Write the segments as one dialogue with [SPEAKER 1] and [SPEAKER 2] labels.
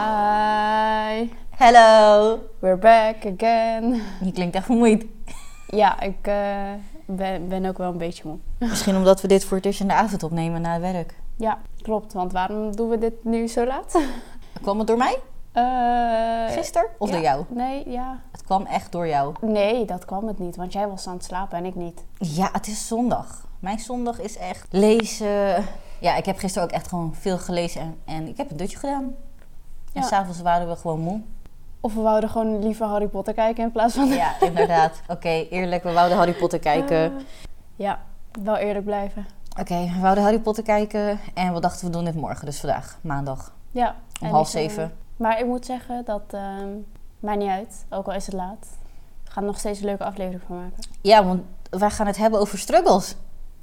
[SPEAKER 1] Hi,
[SPEAKER 2] Hallo.
[SPEAKER 1] we're back again.
[SPEAKER 2] Je klinkt echt vermoeid.
[SPEAKER 1] Ja, ik eh, ben, ben ook wel een beetje moe.
[SPEAKER 2] Misschien omdat we dit voor het eerst in de avond opnemen na het werk.
[SPEAKER 1] Ja, klopt, want waarom doen we dit nu zo laat?
[SPEAKER 2] Kwam het door mij?
[SPEAKER 1] Eh,
[SPEAKER 2] Gisteren? Of
[SPEAKER 1] ja.
[SPEAKER 2] door jou?
[SPEAKER 1] Nee, ja.
[SPEAKER 2] Het kwam echt door jou.
[SPEAKER 1] Nee, dat kwam het niet, want jij was aan het slapen en ik niet.
[SPEAKER 2] Ja, het is zondag. Mijn zondag is echt lezen. Ja, ik heb gisteren ook echt gewoon veel gelezen en, en ik heb een dutje gedaan. En
[SPEAKER 1] Ja.
[SPEAKER 2] s'avonds waren we gewoon moe.
[SPEAKER 1] Of we wouden gewoon liever Harry Potter kijken in plaats van...
[SPEAKER 2] Ja, inderdaad. Oké, eerlijk, we wouden Harry Potter kijken.
[SPEAKER 1] Eh, ja, wel eerlijk blijven.
[SPEAKER 2] Oké, we wouden Harry Potter kijken en we dachten we doen dit morgen, dus vandaag, maandag,
[SPEAKER 1] Ja.
[SPEAKER 2] om
[SPEAKER 1] en
[SPEAKER 2] half
[SPEAKER 1] ik, eh,
[SPEAKER 2] zeven.
[SPEAKER 1] Maar ik moet zeggen dat ehm mij niet uit, ook al is het laat. Ik ga er nog steeds een leuke aflevering van maken.
[SPEAKER 2] Ja, want wij gaan het hebben over struggles.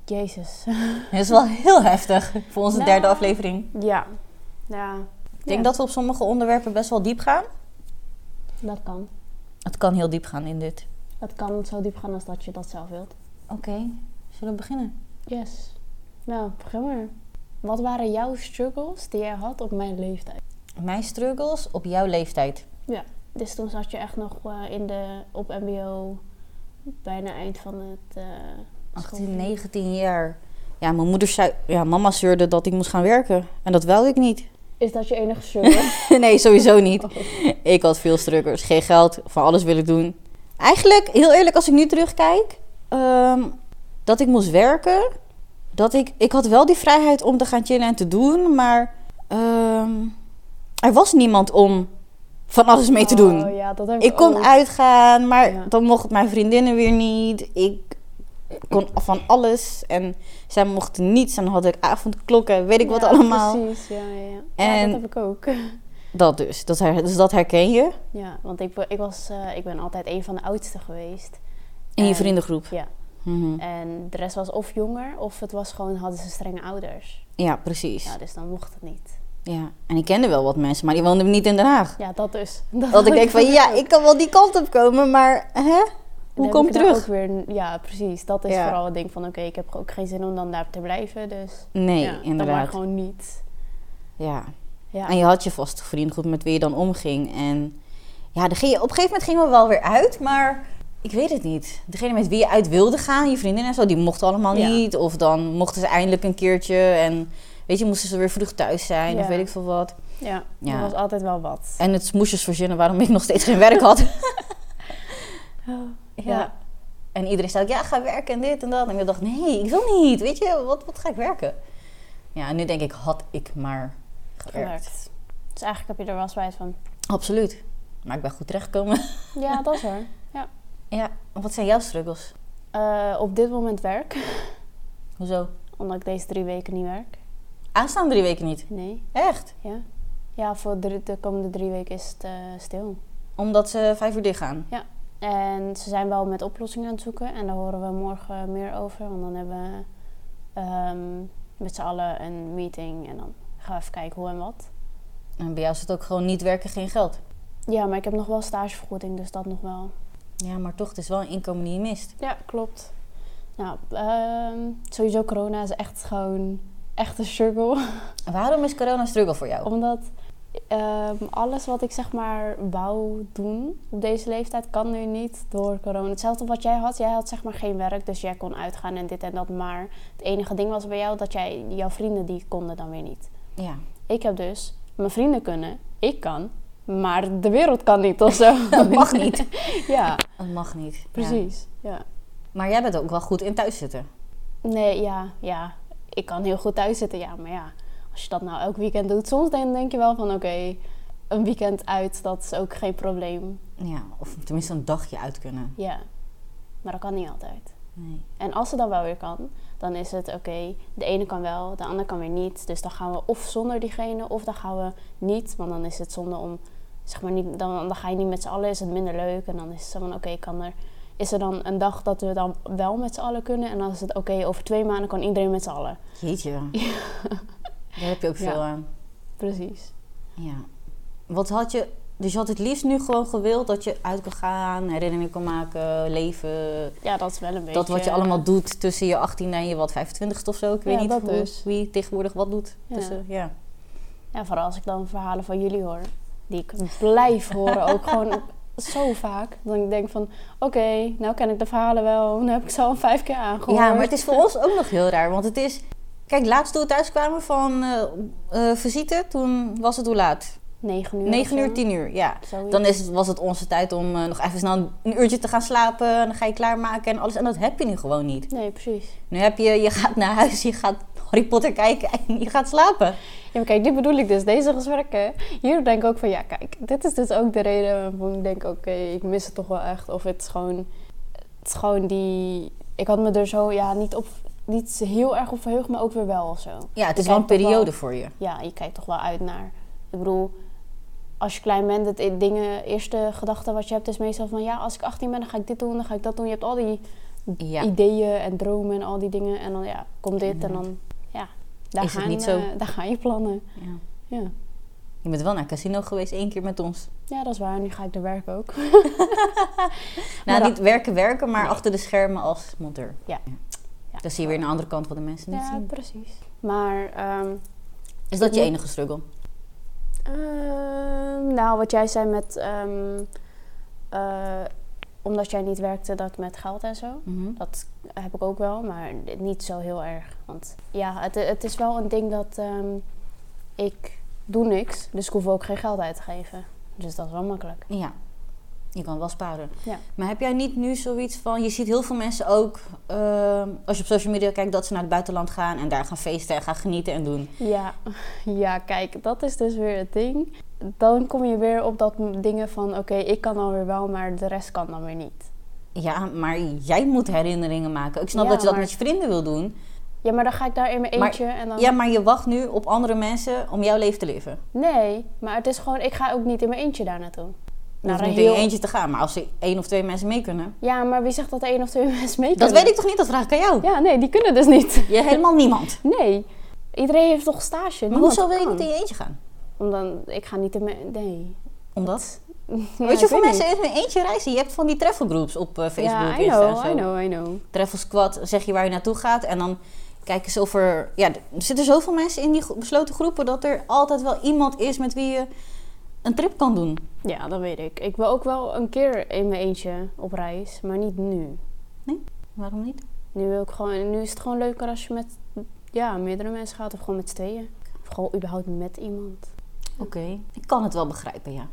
[SPEAKER 1] Jezus.
[SPEAKER 2] Dat is wel heel heftig voor onze
[SPEAKER 1] Nou.
[SPEAKER 2] derde aflevering.
[SPEAKER 1] ja. Ja,
[SPEAKER 2] Ik denk
[SPEAKER 1] Ja.
[SPEAKER 2] dat we op sommige onderwerpen best wel diep gaan.
[SPEAKER 1] dat kan.
[SPEAKER 2] Het kan heel diep gaan in dit.
[SPEAKER 1] Het kan zo diep gaan als dat je dat zelf wilt.
[SPEAKER 2] Oké, zullen we beginnen?
[SPEAKER 1] Yes. Nou, begin maar. Wat waren jouw struggles die jij had op mijn leeftijd?
[SPEAKER 2] Mijn struggles op jouw leeftijd.
[SPEAKER 1] Dus toen zat je echt nog eh, in de, op mbo, bijna eind van het... eh,
[SPEAKER 2] 18,
[SPEAKER 1] school.
[SPEAKER 2] 19 jaar. Ja, mijn moeder zei... Ja, mama zeurde dat ik moest gaan werken. En dat wilde ik niet.
[SPEAKER 1] Is dat je enige struggle?
[SPEAKER 2] nee, sowieso niet.
[SPEAKER 1] Oh.
[SPEAKER 2] Ik had veel struggles. Geen geld. Van alles wil ik doen. Eigenlijk, heel eerlijk, als ik nu terugkijk... ehm, dat ik moest werken. Dat ik... Ik had wel die vrijheid om te gaan chillen en te doen. Maar ehm, er was niemand om van alles mee te doen.
[SPEAKER 1] Oh, ja, dat heb
[SPEAKER 2] Ik kon
[SPEAKER 1] ook.
[SPEAKER 2] uitgaan, maar
[SPEAKER 1] Ja.
[SPEAKER 2] dan mochten mijn vriendinnen weer niet. Ik kon van alles en zij mochten niets. En dan had ik avondklokken, weet ik wat
[SPEAKER 1] Ja,
[SPEAKER 2] allemaal.
[SPEAKER 1] Precies, ja, ja. ja. ja,
[SPEAKER 2] En-
[SPEAKER 1] dat heb ik ook.
[SPEAKER 2] Dat dus, dat, her- dus dat herken je
[SPEAKER 1] Ja, want ik, ik, was, eh, ik ben altijd een van de oudste geweest.
[SPEAKER 2] in je
[SPEAKER 1] En-
[SPEAKER 2] vriendengroep.
[SPEAKER 1] Ja.
[SPEAKER 2] Mhm.
[SPEAKER 1] En de rest was of jonger, of het was gewoon, hadden ze strenge ouders.
[SPEAKER 2] Ja, precies.
[SPEAKER 1] Ja,
[SPEAKER 2] Ja.
[SPEAKER 1] dus dan mocht het niet.
[SPEAKER 2] En ik kende wel wat mensen, maar die woonden niet in Den Haag.
[SPEAKER 1] Ja, dat dus. Dat,
[SPEAKER 2] Dat ik denk van, ja, ik kan wel die kant op komen, maar hè?
[SPEAKER 1] Dan
[SPEAKER 2] hoe
[SPEAKER 1] heb
[SPEAKER 2] kom ik
[SPEAKER 1] daar
[SPEAKER 2] terug?
[SPEAKER 1] ook weer, ja, precies. Dat is
[SPEAKER 2] Ja.
[SPEAKER 1] vooral het ding van, oké, ik heb ook geen zin om dan daar te blijven. Dus
[SPEAKER 2] Nee,
[SPEAKER 1] ja, dan maar
[SPEAKER 2] inderdaad. Ah,
[SPEAKER 1] gewoon niet.
[SPEAKER 2] Ja.
[SPEAKER 1] Ja.
[SPEAKER 2] En je had je vaste vriendengroep met wie je dan omging. En ja, dan ging je, op een gegeven moment gingen we wel weer uit, maar ik weet het niet. Degene met wie je uit wilde gaan, je vriendinnen en zo, die mochten allemaal
[SPEAKER 1] Ja.
[SPEAKER 2] niet. Of dan mochten ze eindelijk een keertje en weet je, moesten ze weer vroeg thuis zijn of
[SPEAKER 1] Ja.
[SPEAKER 2] weet ik veel wat.
[SPEAKER 1] Ja,
[SPEAKER 2] Ja.
[SPEAKER 1] er was altijd wel wat.
[SPEAKER 2] En het is moesjes verzinnen waarom ik nog steeds geen werk had.
[SPEAKER 1] Oh, Ja.
[SPEAKER 2] En iedereen zei ook, ja, ga werken en dit en dat. En ik dacht, nee, ik wil niet. Weet je, wat, wat ga ik werken? Ja, en nu denk ik, had ik maar gewerkt.
[SPEAKER 1] gewerkt. Dus eigenlijk heb je er wel spijt van.
[SPEAKER 2] Absoluut. Maar ik ben goed terechtgekomen.
[SPEAKER 1] Ja, dat is waar. Ja.
[SPEAKER 2] ja, wat zijn jouw struggles?
[SPEAKER 1] Eh, op dit moment werk,
[SPEAKER 2] Hoezo?
[SPEAKER 1] omdat ik deze drie weken niet werk.
[SPEAKER 2] Aanstaan drie weken niet.
[SPEAKER 1] Nee,
[SPEAKER 2] Echt?
[SPEAKER 1] ja. Ja, voor de, de komende drie weken is het eh, stil.
[SPEAKER 2] Omdat ze vijf uur dicht gaan.
[SPEAKER 1] En ze zijn wel met oplossingen aan het zoeken. En daar horen we morgen meer over. Want dan hebben we ehm, met z'n allen een meeting. En dan gaan we even kijken hoe en wat.
[SPEAKER 2] En bij jou is het ook gewoon niet werken, geen geld.
[SPEAKER 1] Ja, maar ik heb nog wel stagevergoeding, dus dat nog wel.
[SPEAKER 2] Ja, maar toch, het is wel een inkomen die je mist.
[SPEAKER 1] Ja, klopt. Nou, ehm, sowieso corona is echt gewoon echt een struggle.
[SPEAKER 2] En Waarom is corona een struggle voor jou?
[SPEAKER 1] Omdat ehm, alles wat ik zeg maar wou doen op deze leeftijd kan nu niet door corona. Hetzelfde wat jij had. Jij had zeg maar geen werk, dus jij kon uitgaan en dit en dat. Maar het enige ding was bij jou dat jij, jouw vrienden die konden dan weer niet.
[SPEAKER 2] Ja.
[SPEAKER 1] Ik heb dus, mijn vrienden kunnen, ik kan, maar de wereld kan niet of zo.
[SPEAKER 2] Mag niet.
[SPEAKER 1] ja,
[SPEAKER 2] Dat mag niet. Ja.
[SPEAKER 1] precies. Ja.
[SPEAKER 2] Maar jij bent ook wel goed in thuis zitten.
[SPEAKER 1] Nee, ja, ja. Ik kan heel goed thuis zitten, ja. Maar ja, als je dat nou elk weekend doet, soms dan denk je wel van oké, een weekend uit, dat is ook geen probleem.
[SPEAKER 2] Ja, of tenminste een dagje uit kunnen.
[SPEAKER 1] Ja, maar dat kan niet altijd.
[SPEAKER 2] Nee.
[SPEAKER 1] En als het dan wel weer kan, dan is het oké, de ene kan wel, de ander kan weer niet. Dus dan gaan we of zonder diegene, of dan gaan we niet. Want dan is het zonde om, zeg maar, niet, dan, dan ga je niet met z'n allen, is het minder leuk. En dan is het zo van oké, kan er... Is er dan een dag dat we dan wel met z'n allen kunnen? En dan is het oké, over twee maanden kan iedereen met z'n allen.
[SPEAKER 2] Jeetje. Daar heb je ook
[SPEAKER 1] Ja.
[SPEAKER 2] veel aan.
[SPEAKER 1] Precies.
[SPEAKER 2] Ja. Wat had je Dus je had het liefst nu gewoon gewild dat je uit kon gaan, herinneringen kon maken, leven.
[SPEAKER 1] Ja, dat is wel een beetje...
[SPEAKER 2] Dat wat je allemaal doet tussen je 18 en je wat 25 of zo. Ik weet
[SPEAKER 1] Ja,
[SPEAKER 2] niet
[SPEAKER 1] dat
[SPEAKER 2] hoe,
[SPEAKER 1] dus.
[SPEAKER 2] wie tegenwoordig wat doet.
[SPEAKER 1] Ja.
[SPEAKER 2] Tussen, ja.
[SPEAKER 1] Ja, vooral als ik dan verhalen van jullie hoor. Die ik blijf horen, ook gewoon zo vaak. Dan ik denk van, oké, nou ken ik de verhalen wel. Nu heb ik ze al vijf keer aangehoord.
[SPEAKER 2] Ja, maar het is voor ons ook nog heel raar. Want het is. Kijk, laatst toen we thuis kwamen van eh eh, visite, toen was het hoe laat?
[SPEAKER 1] Negen uur. of
[SPEAKER 2] 9
[SPEAKER 1] zo.
[SPEAKER 2] uur, 10 uur, ja.
[SPEAKER 1] Zoiets.
[SPEAKER 2] Dan is het, was het onze tijd om eh, nog even snel een uurtje te gaan slapen. En dan ga je klaarmaken en alles. En dat heb je nu gewoon niet.
[SPEAKER 1] Nee, precies.
[SPEAKER 2] Nu heb je, je gaat naar huis, je gaat Harry Potter kijken en je gaat slapen.
[SPEAKER 1] Ja, maar kijk, dit bedoel ik dus. Deze gesprekken. Hier denk ik ook van, ja, kijk, dit is dus ook de reden waarom ik denk, oké, ik mis het toch wel echt. Of het is gewoon, het is gewoon die... Ik had me er zo, ja, niet op... Niet heel erg op verheugd, maar ook weer wel of zo.
[SPEAKER 2] Ja, het is
[SPEAKER 1] Ik
[SPEAKER 2] wel een
[SPEAKER 1] heb toch wel-
[SPEAKER 2] periode voor je.
[SPEAKER 1] ja, je kijkt toch wel uit naar. Ik bedoel, als je klein bent, het i- dingen, eerste gedachte wat je hebt is meestal van ja, als ik 18 ben, dan ga ik dit doen, dan ga ik dat doen. Je hebt al die
[SPEAKER 2] Ja.
[SPEAKER 1] ideeën en dromen en al die dingen. En dan ja, komt dit en dan ja, daar,
[SPEAKER 2] Is het
[SPEAKER 1] gaan,
[SPEAKER 2] niet zo?
[SPEAKER 1] eh, daar gaan je plannen.
[SPEAKER 2] Ja.
[SPEAKER 1] Ja.
[SPEAKER 2] Je bent wel naar casino geweest, één keer met ons.
[SPEAKER 1] ja, dat is waar. Nu ga ik er werken ook. Maar
[SPEAKER 2] Nou,
[SPEAKER 1] dat-
[SPEAKER 2] niet werken, werken, maar achter de schermen als monteur.
[SPEAKER 1] Ja. Ja.
[SPEAKER 2] Dan zie je weer een andere kant wat de mensen niet
[SPEAKER 1] Ja,
[SPEAKER 2] zien.
[SPEAKER 1] precies. Maar ehm,
[SPEAKER 2] Is dat je
[SPEAKER 1] Ja.
[SPEAKER 2] enige struggle?
[SPEAKER 1] Ehm, nou, wat jij zei met. ehm, eh, omdat jij niet werkte, dat met geld en zo. Dat heb ik ook wel, maar niet zo heel erg. Want ja, het, het is wel een ding dat ehm, ik doe niks, dus ik hoef ook geen geld uit te geven. Dus dat is wel makkelijk.
[SPEAKER 2] Ja, je kan wel sparen.
[SPEAKER 1] Ja.
[SPEAKER 2] Maar heb jij niet nu zoiets van... Je ziet heel veel mensen ook, ehm, als je op social media kijkt... dat ze naar het buitenland gaan en daar gaan feesten en gaan genieten en doen.
[SPEAKER 1] Ja, ja kijk, dat is dus weer het ding. Dan kom je weer op dat m- dingen van, oké, ik kan dan weer wel, maar de rest kan dan weer niet.
[SPEAKER 2] Ja, maar jij moet herinneringen maken. Ik snap
[SPEAKER 1] Ja,
[SPEAKER 2] dat je dat
[SPEAKER 1] maar- Oh.
[SPEAKER 2] met je vrienden wil doen.
[SPEAKER 1] Ja, maar dan ga ik daar in mijn
[SPEAKER 2] Maar-
[SPEAKER 1] eentje en dan...
[SPEAKER 2] Ja, maar je wacht nu op andere mensen om jouw leven te leven.
[SPEAKER 1] Nee, maar het is gewoon, ik ga ook niet in mijn eentje daar naartoe.
[SPEAKER 2] Je
[SPEAKER 1] Nou,
[SPEAKER 2] hoeft
[SPEAKER 1] een
[SPEAKER 2] niet in je
[SPEAKER 1] heel-
[SPEAKER 2] eentje te gaan. Maar als er één of twee mensen mee kunnen...
[SPEAKER 1] Ja, maar wie zegt dat één of twee mensen mee
[SPEAKER 2] Dat
[SPEAKER 1] kunnen?
[SPEAKER 2] weet ik toch niet? Dat vraag ik aan jou.
[SPEAKER 1] Ja, nee, die kunnen dus niet.
[SPEAKER 2] Je helemaal niemand.
[SPEAKER 1] Nee. Iedereen heeft toch stage?
[SPEAKER 2] Maar
[SPEAKER 1] Niemand
[SPEAKER 2] hoezo wil je
[SPEAKER 1] kan.
[SPEAKER 2] niet in je eentje gaan?
[SPEAKER 1] Omdat ik ga niet in mijn... Nee.
[SPEAKER 2] Omdat?
[SPEAKER 1] Ja,
[SPEAKER 2] weet
[SPEAKER 1] ik
[SPEAKER 2] je hoeveel
[SPEAKER 1] niet.
[SPEAKER 2] mensen in hun eentje reizen? Je hebt van die travel groups op eh, Facebook,
[SPEAKER 1] Ja, I
[SPEAKER 2] Insta en
[SPEAKER 1] know,
[SPEAKER 2] zo.
[SPEAKER 1] I know, I know.
[SPEAKER 2] Travel Squad, zeg je waar je naartoe gaat. En dan kijken ze of er... Ja, er zitten zoveel mensen in die gro- besloten groepen... dat er altijd wel iemand is met wie je een trip kan doen.
[SPEAKER 1] Ja, dat weet ik. Ik wil ook wel een keer in mijn eentje op reis, maar niet nu.
[SPEAKER 2] Waarom niet?
[SPEAKER 1] Nu, wil ik gewoon, nu is het gewoon leuker als je met ja, meerdere mensen gaat of gewoon met z'n tweeën. Of gewoon überhaupt met iemand.
[SPEAKER 2] Oké. Ik kan het wel begrijpen, ja.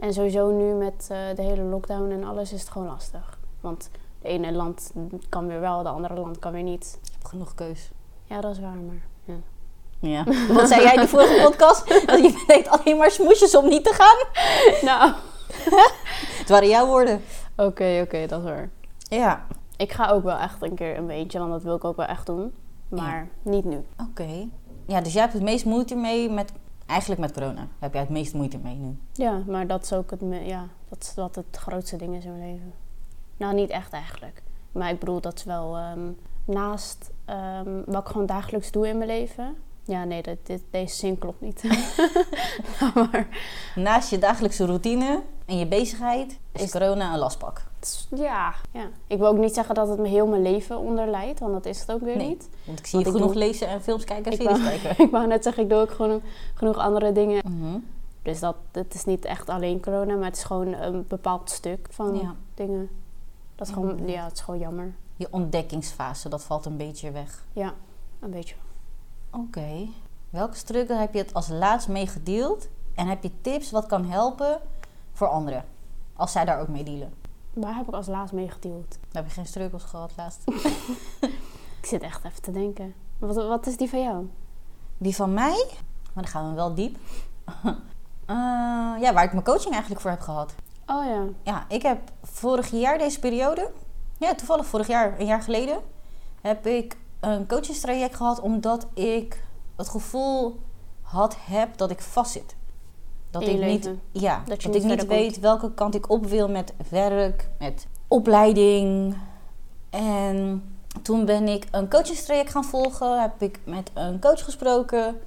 [SPEAKER 1] En sowieso nu met eh, de hele lockdown en alles is het gewoon lastig. Want de ene land kan weer wel, de andere land kan weer niet.
[SPEAKER 2] Ik heb genoeg keus.
[SPEAKER 1] Ja, dat is waar, maar... Ja.
[SPEAKER 2] Ja. Wat zei jij in de vorige podcast? Dat je deed alleen maar smoesjes om niet te gaan.
[SPEAKER 1] Nou,
[SPEAKER 2] Het waren jouw woorden.
[SPEAKER 1] oké, oké, dat is waar.
[SPEAKER 2] Ja.
[SPEAKER 1] Ik ga ook wel echt een keer een beetje, want dat wil ik ook wel echt doen. Maar niet nu.
[SPEAKER 2] Oké. Ja, dus jij hebt het meest moeite mee met... Eigenlijk met corona. Daar heb jij het meest moeite mee nu.
[SPEAKER 1] Ja, maar dat is ook het, me- ja, dat is wat het grootste ding is in mijn leven. Nou, niet echt eigenlijk. Maar ik bedoel, dat is wel ehm, naast ehm, wat ik gewoon dagelijks doe in mijn leven. Ja, nee, dat, dit, deze zin klopt niet. Nou, maar,
[SPEAKER 2] Naast je dagelijkse routine en je bezigheid... is, corona een lastpak.
[SPEAKER 1] het is- ja, ja. Ik wil ook niet zeggen dat het me heel mijn leven onderlijdt, want dat is het ook weer
[SPEAKER 2] Nee.
[SPEAKER 1] niet.
[SPEAKER 2] Want ik zie je
[SPEAKER 1] Want ik
[SPEAKER 2] genoeg
[SPEAKER 1] doe-
[SPEAKER 2] lezen en films kijken en
[SPEAKER 1] Ik
[SPEAKER 2] series
[SPEAKER 1] wou-
[SPEAKER 2] kijken.
[SPEAKER 1] Ik wou net zeggen, ik doe ook gewoon genoeg andere dingen.
[SPEAKER 2] Mhm.
[SPEAKER 1] Dus dat, het is niet echt alleen corona, maar het is gewoon een bepaald stuk van
[SPEAKER 2] Ja.
[SPEAKER 1] dingen. Dat is gewoon, ja, het is gewoon jammer.
[SPEAKER 2] Je ontdekkingsfase, dat valt een beetje weg.
[SPEAKER 1] Ja, een beetje.
[SPEAKER 2] Oké. Welke struggle heb je het als laatst mee gedeeld? En heb je tips wat kan helpen voor anderen? Als zij daar ook mee dealen.
[SPEAKER 1] Waar heb ik als laatst mee gedeeld?
[SPEAKER 2] Heb je geen struggles gehad laatst?
[SPEAKER 1] Ik zit echt even te denken. Wat, wat is die van jou?
[SPEAKER 2] Die van mij? Maar dan gaan we wel diep. Eh, ja, waar ik mijn coaching eigenlijk voor heb gehad.
[SPEAKER 1] Oh ja.
[SPEAKER 2] Ja, ik heb vorig jaar deze periode... Ja, toevallig vorig jaar, een jaar geleden... heb ik een coachingstraject gehad... omdat ik het gevoel had heb dat ik vastzit. Dat
[SPEAKER 1] In je
[SPEAKER 2] ik niet,
[SPEAKER 1] leven.
[SPEAKER 2] ja,
[SPEAKER 1] Dat
[SPEAKER 2] dat
[SPEAKER 1] je niet
[SPEAKER 2] ik niet
[SPEAKER 1] verder komt.
[SPEAKER 2] weet welke kant ik op wil met werk, met opleiding. En toen ben ik een coachingstraject gaan volgen. Heb ik met een coach gesproken.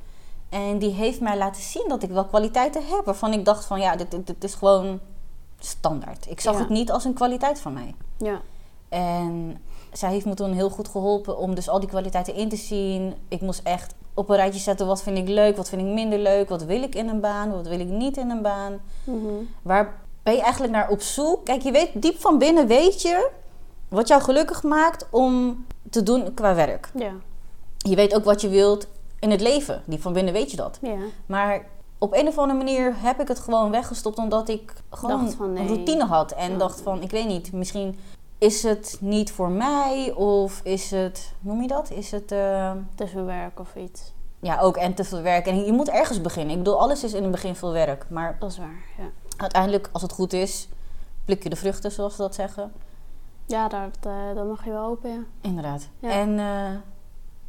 [SPEAKER 2] En die heeft mij laten zien dat ik wel kwaliteiten heb. Waarvan ik dacht van ja, dit, dit, dit is gewoon standaard. Ik zag
[SPEAKER 1] Ja.
[SPEAKER 2] het niet als een kwaliteit van mij.
[SPEAKER 1] Ja.
[SPEAKER 2] En zij heeft me toen heel goed geholpen om dus al die kwaliteiten in te zien. Ik moest echt op een rijtje zetten wat vind ik leuk, wat vind ik minder leuk. Wat wil ik in een baan, wat wil ik niet in een baan.
[SPEAKER 1] Mhm.
[SPEAKER 2] Waar ben je eigenlijk naar op zoek? Kijk, je weet diep van binnen weet je wat jou gelukkig maakt om te doen qua werk.
[SPEAKER 1] Ja.
[SPEAKER 2] Je weet ook wat je wilt in het leven. Diep van binnen weet je dat.
[SPEAKER 1] Ja.
[SPEAKER 2] Maar op een of andere manier heb ik het gewoon weggestopt omdat ik gewoon
[SPEAKER 1] Dacht van, nee.
[SPEAKER 2] een routine had. En
[SPEAKER 1] Ja.
[SPEAKER 2] dacht van, ik weet niet, misschien is het niet voor mij of is het, noem je dat? Is het, eh,
[SPEAKER 1] Tussenwerk of iets.
[SPEAKER 2] ja ook en te veel werk. En je moet ergens beginnen. Ik bedoel, alles is in het begin veel werk. Maar
[SPEAKER 1] Dat is waar. Ja,
[SPEAKER 2] uiteindelijk, als het goed is, pluk je de vruchten, zoals ze dat zeggen.
[SPEAKER 1] ja daar, eh, dat mag je wel hopen, ja.
[SPEAKER 2] Inderdaad.
[SPEAKER 1] Ja.
[SPEAKER 2] En eh,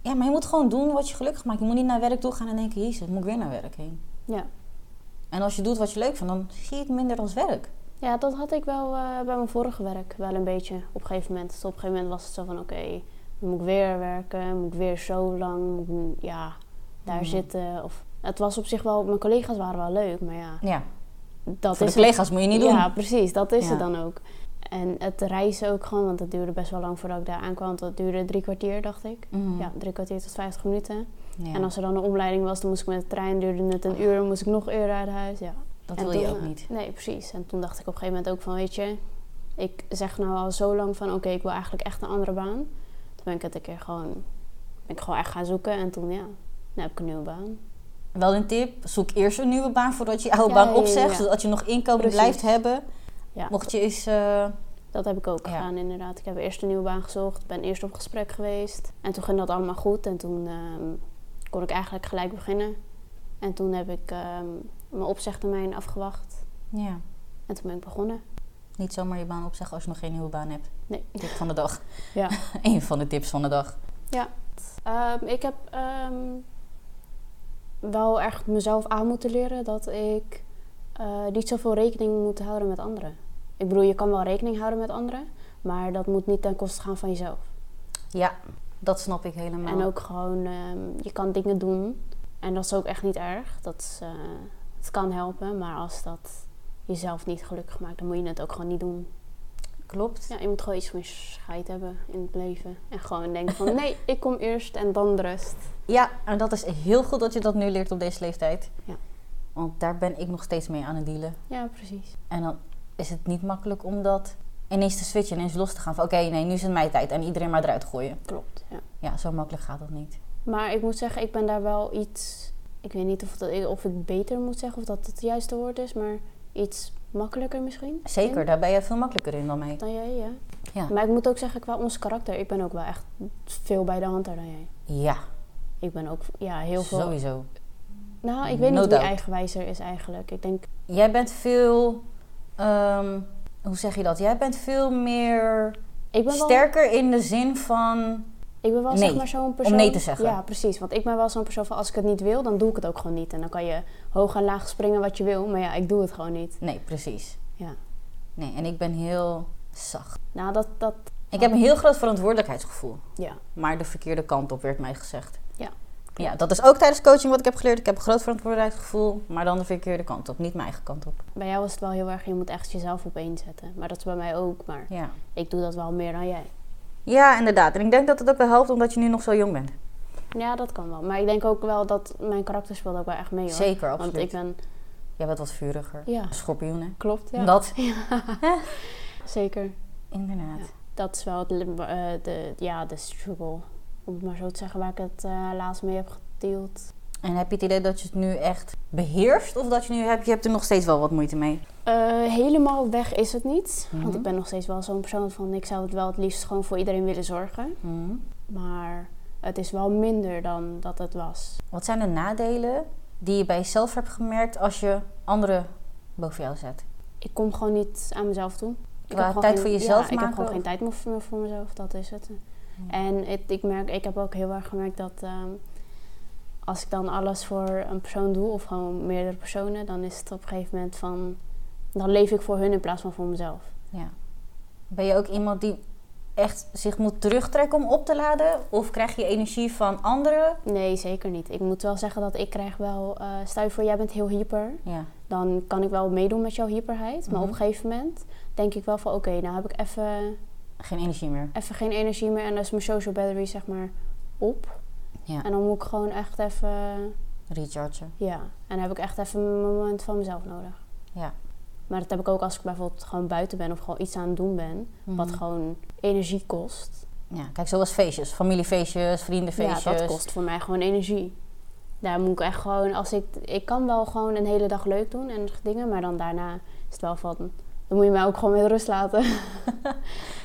[SPEAKER 2] ja, maar je moet gewoon doen wat je gelukkig maakt. Je moet niet naar werk toe gaan en denken, jezus, moet ik weer naar werk heen.
[SPEAKER 1] Ja.
[SPEAKER 2] En als je doet wat je leuk vindt, dan zie je het minder als werk.
[SPEAKER 1] Ja, dat had ik wel eh, bij mijn vorige werk wel een beetje op een gegeven moment. Dus op een gegeven moment was het zo van, oké, dan moet ik weer werken, moet ik weer zo lang, moet ik, nu- ja, daar
[SPEAKER 2] Mhm.
[SPEAKER 1] zitten. Of, het was op zich wel, mijn collega's waren wel leuk, maar ja,
[SPEAKER 2] Ja,
[SPEAKER 1] dat
[SPEAKER 2] voor
[SPEAKER 1] is
[SPEAKER 2] de collega's moet je
[SPEAKER 1] het.
[SPEAKER 2] niet doen.
[SPEAKER 1] Ja, precies, dat is
[SPEAKER 2] Ja.
[SPEAKER 1] het dan ook. En het reizen ook gewoon, want het duurde best wel lang voordat ik daar aankwam. want Dat duurde drie kwartier, dacht ik.
[SPEAKER 2] Mhm.
[SPEAKER 1] Ja, drie kwartier tot 50 minuten.
[SPEAKER 2] Ja,
[SPEAKER 1] En als er dan een omleiding was, dan moest ik met de trein, duurde het een uur, moest ik nog eerder uit huis. Ja,
[SPEAKER 2] dat
[SPEAKER 1] En
[SPEAKER 2] wil je
[SPEAKER 1] toen,
[SPEAKER 2] ook
[SPEAKER 1] eh,
[SPEAKER 2] niet.
[SPEAKER 1] Nee, precies. En toen dacht ik op een gegeven moment ook van, weet je, ik zeg nou al zo lang van, oké, ik wil eigenlijk echt een andere baan. Toen ben ik het een keer gewoon, ben ik gewoon echt gaan zoeken en toen, ja, nu heb ik een nieuwe baan.
[SPEAKER 2] Wel een tip, zoek eerst een nieuwe baan voordat je je oude
[SPEAKER 1] Ja,
[SPEAKER 2] baan
[SPEAKER 1] ja, ja,
[SPEAKER 2] opzegt.
[SPEAKER 1] ja.
[SPEAKER 2] Zodat je nog inkomen
[SPEAKER 1] Precies.
[SPEAKER 2] blijft hebben.
[SPEAKER 1] Ja,
[SPEAKER 2] Mocht je eens... eh,
[SPEAKER 1] dat heb ik ook
[SPEAKER 2] Ja.
[SPEAKER 1] gedaan inderdaad. Ik heb eerst een nieuwe baan gezocht, ben eerst op gesprek geweest. En toen ging dat allemaal goed en toen ehm, kon ik eigenlijk gelijk beginnen. En toen heb ik ehm, mijn opzegtermijn afgewacht
[SPEAKER 2] ja,
[SPEAKER 1] en toen ben ik begonnen.
[SPEAKER 2] niet zomaar je baan opzeggen als je nog geen nieuwe baan hebt.
[SPEAKER 1] Nee.
[SPEAKER 2] Tip van de dag.
[SPEAKER 1] Ja.
[SPEAKER 2] Eén van de tips van de dag.
[SPEAKER 1] Ehm, ik heb ehm, wel echt mezelf aan moeten leren dat ik eh, niet zoveel rekening moet houden met anderen. Ik bedoel, je kan wel rekening houden met anderen, maar dat moet niet ten koste gaan van jezelf.
[SPEAKER 2] Ja, dat snap ik helemaal.
[SPEAKER 1] En ook gewoon, ehm, je kan dingen doen en dat is ook echt niet erg. Dat is, eh, het kan helpen, maar als dat jezelf niet gelukkig maakt, dan moet je het ook gewoon niet doen.
[SPEAKER 2] Klopt.
[SPEAKER 1] Ja, je moet gewoon iets van je scheid hebben in het leven. En gewoon denken van, nee, ik kom eerst en dan de rest.
[SPEAKER 2] Ja, en dat is heel goed dat je dat nu leert op deze leeftijd.
[SPEAKER 1] Ja.
[SPEAKER 2] Want daar ben ik nog steeds mee aan het dealen.
[SPEAKER 1] Ja, precies.
[SPEAKER 2] En dan is het niet makkelijk om dat ineens te switchen, ineens los te gaan. Van oké, nee, nu is het mijn tijd en iedereen maar eruit gooien.
[SPEAKER 1] Klopt, ja.
[SPEAKER 2] Ja, zo makkelijk gaat dat niet.
[SPEAKER 1] Maar ik moet zeggen, ik ben daar wel iets. Ik weet niet of, dat, ik- of ik beter moet zeggen of dat het juiste woord is, maar iets makkelijker misschien.
[SPEAKER 2] Zeker,
[SPEAKER 1] in,
[SPEAKER 2] daar ben je veel makkelijker in dan mij.
[SPEAKER 1] Dan jij, ja.
[SPEAKER 2] Ja.
[SPEAKER 1] Maar ik moet ook zeggen, qua ons karakter, ik ben ook wel echt veel bij de hand daar dan jij.
[SPEAKER 2] Ja,
[SPEAKER 1] Ik ben ook ja, heel veel.
[SPEAKER 2] sowieso.
[SPEAKER 1] Nou, ik weet
[SPEAKER 2] No
[SPEAKER 1] niet
[SPEAKER 2] doubt.
[SPEAKER 1] wie eigenwijzer is eigenlijk. Ik denk,
[SPEAKER 2] Jij bent veel. ehm, hoe zeg je dat? Jij bent veel meer
[SPEAKER 1] ik ben wel,
[SPEAKER 2] sterker in de zin van.
[SPEAKER 1] ik ben wel
[SPEAKER 2] nee,
[SPEAKER 1] zeg maar zo'n persoon.
[SPEAKER 2] nee te zeggen.
[SPEAKER 1] Ja, precies. Want ik ben wel zo'n persoon van als ik het niet wil, dan doe ik het ook gewoon niet. En dan kan je hoog en laag springen wat je wil, maar ja, ik doe het gewoon niet.
[SPEAKER 2] Nee, precies.
[SPEAKER 1] Ja.
[SPEAKER 2] Nee, en ik ben heel zacht.
[SPEAKER 1] Nou, dat, dat
[SPEAKER 2] Ik heb een heel groot verantwoordelijkheidsgevoel.
[SPEAKER 1] ja.
[SPEAKER 2] Maar de verkeerde kant op werd mij gezegd.
[SPEAKER 1] Ja,
[SPEAKER 2] Ja, dat is ook tijdens coaching wat ik heb geleerd. Ik heb een groot verantwoordelijkheidsgevoel, maar dan de verkeerde kant op. Niet mijn eigen kant op.
[SPEAKER 1] Bij jou was het wel heel erg, je moet echt jezelf opeenzetten. Maar dat is bij mij ook, maar
[SPEAKER 2] Ja.
[SPEAKER 1] ik doe dat wel meer dan jij.
[SPEAKER 2] Ja, inderdaad. En ik denk dat het ook wel helpt omdat je nu nog zo jong bent.
[SPEAKER 1] Ja, dat kan wel. Maar ik denk ook wel dat mijn karakter speelt ook wel echt mee hoor.
[SPEAKER 2] Zeker,
[SPEAKER 1] Want
[SPEAKER 2] absoluut.
[SPEAKER 1] ik ben...
[SPEAKER 2] Jij bent wat vuriger.
[SPEAKER 1] Ja,
[SPEAKER 2] Schorpioen, hè?
[SPEAKER 1] klopt. Ja.
[SPEAKER 2] Dat.
[SPEAKER 1] Zeker.
[SPEAKER 2] Inderdaad.
[SPEAKER 1] Ja. Dat is wel het, li- eh, de, ja, de struggle, om het maar zo te zeggen, waar ik het eh, laatst mee heb gedeeld.
[SPEAKER 2] En heb je het idee dat je het nu echt beheerst? Of dat je nu hebt, je hebt er nog steeds wel wat moeite mee?
[SPEAKER 1] Eh, helemaal weg is het niet. Want
[SPEAKER 2] Mhm.
[SPEAKER 1] ik ben nog steeds wel zo'n persoon van, ik zou het wel het liefst gewoon voor iedereen willen zorgen. Maar het is wel minder dan dat het was.
[SPEAKER 2] Wat zijn de nadelen die je bij jezelf hebt gemerkt als je anderen boven jou zet?
[SPEAKER 1] ik kom gewoon niet aan mezelf toe. Ik
[SPEAKER 2] Qua
[SPEAKER 1] heb gewoon
[SPEAKER 2] tijd
[SPEAKER 1] geen-
[SPEAKER 2] voor jezelf
[SPEAKER 1] ja, ik heb
[SPEAKER 2] maken
[SPEAKER 1] gewoon
[SPEAKER 2] of-
[SPEAKER 1] geen tijd meer voor, voor mezelf, dat is het.
[SPEAKER 2] Ja.
[SPEAKER 1] En het- ik, merk, ik heb ook heel erg gemerkt dat ehm, als ik dan alles voor een persoon doe, of gewoon meerdere personen, dan is het op een gegeven moment van, dan leef ik voor hun in plaats van voor mezelf.
[SPEAKER 2] Ben je ook iemand die echt zich moet terugtrekken om op te laden? Of krijg je energie van anderen?
[SPEAKER 1] Nee, zeker niet. Ik moet wel zeggen dat ik krijg wel... eh stel je voor, jij bent heel hyper.
[SPEAKER 2] Ja.
[SPEAKER 1] Dan kan ik wel meedoen met jouw hyperheid. Maar op
[SPEAKER 2] Mhm.
[SPEAKER 1] een gegeven moment denk ik wel van... Oké, nou heb ik even
[SPEAKER 2] Geen energie meer.
[SPEAKER 1] even geen energie meer. En dan is mijn social battery zeg maar op.
[SPEAKER 2] Ja.
[SPEAKER 1] En dan moet ik gewoon echt even...
[SPEAKER 2] Rechargen.
[SPEAKER 1] Ja, en dan heb ik echt even een moment van mezelf nodig.
[SPEAKER 2] Ja.
[SPEAKER 1] Maar dat heb ik ook als ik bijvoorbeeld gewoon buiten ben of gewoon iets aan het doen ben. Wat
[SPEAKER 2] Mhm.
[SPEAKER 1] gewoon energie kost.
[SPEAKER 2] Ja, kijk, zoals feestjes. Familiefeestjes, vriendenfeestjes.
[SPEAKER 1] Ja, dat kost voor mij gewoon energie. Daar moet ik echt gewoon, als ik, ik kan wel gewoon een hele dag leuk doen en dingen, maar dan daarna is het wel van, dan moet je mij ook gewoon met rust laten.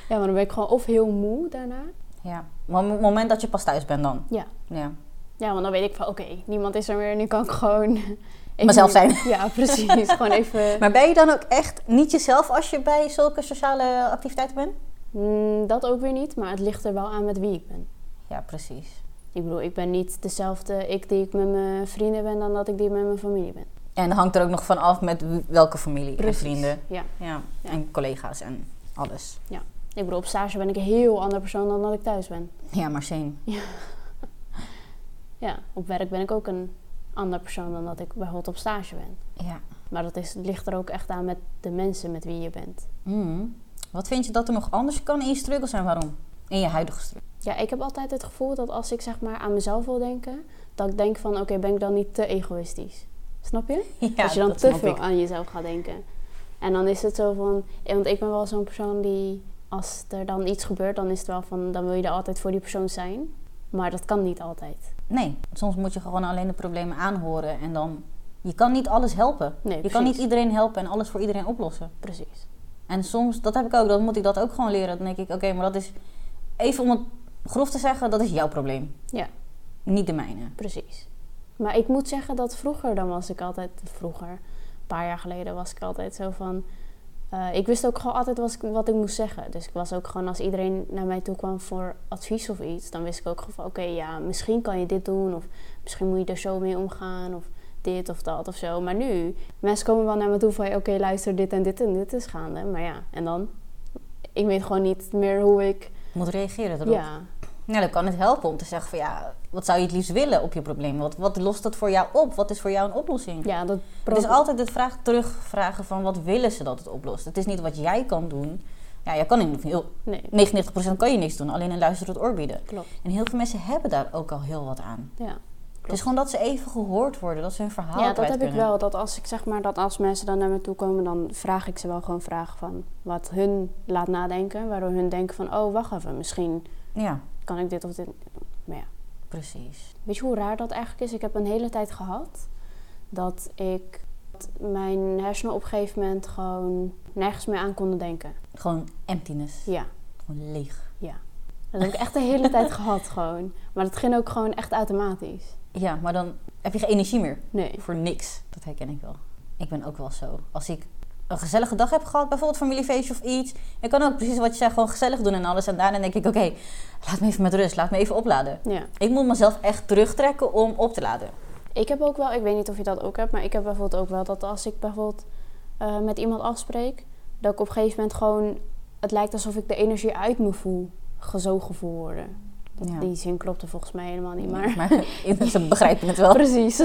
[SPEAKER 1] ja, maar dan ben ik gewoon of heel moe daarna.
[SPEAKER 2] Ja. Maar op het moment dat je pas thuis bent dan.
[SPEAKER 1] Ja.
[SPEAKER 2] Ja.
[SPEAKER 1] Ja, want dan weet ik van, oké, niemand is er meer, nu kan ik gewoon... even
[SPEAKER 2] Mezelf zijn.
[SPEAKER 1] Ja, precies. gewoon even...
[SPEAKER 2] Maar ben je dan ook echt niet jezelf als je bij zulke sociale activiteiten bent?
[SPEAKER 1] Mm, dat ook weer niet, maar het ligt er wel aan met wie ik ben.
[SPEAKER 2] Ja, precies.
[SPEAKER 1] Ik bedoel, ik ben niet dezelfde ik die ik met mijn vrienden ben dan dat ik die met mijn familie ben.
[SPEAKER 2] En dat hangt er ook nog van af met w- welke familie
[SPEAKER 1] Precies.
[SPEAKER 2] en vrienden.
[SPEAKER 1] Ja.
[SPEAKER 2] Ja.
[SPEAKER 1] Ja.
[SPEAKER 2] En collega's en alles.
[SPEAKER 1] Ik bedoel, op stage ben ik een heel andere persoon dan dat ik thuis ben.
[SPEAKER 2] Ja, Marceen.
[SPEAKER 1] Ja, op werk ben ik ook een ander persoon dan dat ik bijvoorbeeld op stage ben.
[SPEAKER 2] Ja.
[SPEAKER 1] Maar dat is, ligt er ook echt aan met de mensen met wie je bent.
[SPEAKER 2] Mm. Wat vind je dat er nog anders kan in je struggles en waarom? In je huidige struggles.
[SPEAKER 1] Ja, ik heb altijd het gevoel dat als ik zeg maar aan mezelf wil denken, dat ik denk van oké, ben ik dan niet te egoïstisch? Snap je?
[SPEAKER 2] Ja,
[SPEAKER 1] als je dan
[SPEAKER 2] dat
[SPEAKER 1] te
[SPEAKER 2] snap
[SPEAKER 1] veel
[SPEAKER 2] ik.
[SPEAKER 1] aan jezelf gaat denken. En dan is het zo van, eh, want ik ben wel zo'n persoon die, als er dan iets gebeurt, dan is het wel van, dan wil je er altijd voor die persoon zijn. Maar dat kan niet altijd.
[SPEAKER 2] Nee, soms moet je gewoon alleen de problemen aanhoren en dan... Je kan niet alles helpen.
[SPEAKER 1] Nee,
[SPEAKER 2] je
[SPEAKER 1] precies.
[SPEAKER 2] kan niet iedereen helpen en alles voor iedereen oplossen.
[SPEAKER 1] Precies.
[SPEAKER 2] En soms, dat heb ik ook, dan moet ik dat ook gewoon leren. Dan denk ik, oké, maar dat is... Even om het grof te zeggen, dat is jouw probleem.
[SPEAKER 1] Ja.
[SPEAKER 2] Niet de mijne.
[SPEAKER 1] Precies. Maar ik moet zeggen dat vroeger, dan was ik altijd, vroeger, een paar jaar geleden, was ik altijd zo van. eh, ik wist ook gewoon altijd was ik- wat ik moest zeggen. Dus ik was ook gewoon, als iedereen naar mij toe kwam voor advies of iets, dan wist ik ook gewoon van: oké, ja, misschien kan je dit doen, of misschien moet je er zo mee omgaan, of dit of dat of zo. Maar nu, mensen komen wel naar me toe van: oké, luister, dit en dit en dit is gaande. Maar ja, en dan? Ik weet gewoon niet meer hoe ik.
[SPEAKER 2] Moet reageren erop.
[SPEAKER 1] Ja,
[SPEAKER 2] Nou, dan kan het helpen om te zeggen van ja, wat zou je het liefst willen op je probleem? Wat, wat lost dat voor jou op? Wat is voor jou een oplossing?
[SPEAKER 1] ja, dat
[SPEAKER 2] Het is altijd het vraag terugvragen van wat willen ze dat het oplost. Het is niet wat jij kan doen. Ja, jij kan in heel,
[SPEAKER 1] Nee,
[SPEAKER 2] 99% kan je niks doen, alleen een luisterend oor bieden.
[SPEAKER 1] klopt.
[SPEAKER 2] En heel veel mensen hebben daar ook al heel wat aan.
[SPEAKER 1] Ja.
[SPEAKER 2] Het is gewoon dat ze even gehoord worden, dat ze hun verhaal
[SPEAKER 1] Ja, dat
[SPEAKER 2] kwijt
[SPEAKER 1] heb ik
[SPEAKER 2] kunnen.
[SPEAKER 1] wel. Dat als ik zeg maar dat als mensen dan naar me toe komen, dan vraag ik ze wel gewoon vragen van wat hun laat nadenken. Waardoor hun denken van oh, wacht even, misschien
[SPEAKER 2] Ja,
[SPEAKER 1] kan ik dit of dit.
[SPEAKER 2] precies.
[SPEAKER 1] Weet je hoe raar dat eigenlijk is? Ik heb een hele tijd gehad dat ik dat mijn hersenen op een gegeven moment gewoon nergens meer aan konden denken.
[SPEAKER 2] Gewoon emptiness.
[SPEAKER 1] Ja.
[SPEAKER 2] Gewoon leeg.
[SPEAKER 1] Dat heb ik echt de hele tijd gehad gewoon. Maar dat ging ook gewoon echt automatisch.
[SPEAKER 2] Ja, maar dan heb je geen energie meer.
[SPEAKER 1] Nee.
[SPEAKER 2] Voor niks. Dat herken ik wel. Ik ben ook wel zo. Als ik een gezellige dag heb gehad, bijvoorbeeld familiefeestje of iets. Ik kan ook precies wat je zegt, gewoon gezellig doen en alles. En daarna denk ik, oké, laat me even met rust. Laat me even opladen.
[SPEAKER 1] Ja.
[SPEAKER 2] Ik moet mezelf echt terugtrekken om op te laden.
[SPEAKER 1] Ik heb ook wel, ik weet niet of je dat ook hebt, maar ik heb bijvoorbeeld ook wel dat als ik bijvoorbeeld eh, met iemand afspreek, dat ik op een gegeven moment gewoon, het lijkt alsof ik de energie uit me voel, gezogen voel worden. Dat,
[SPEAKER 2] Ja.
[SPEAKER 1] Die zin klopt er volgens mij helemaal niet, maar
[SPEAKER 2] ze begrijpen het wel.
[SPEAKER 1] precies.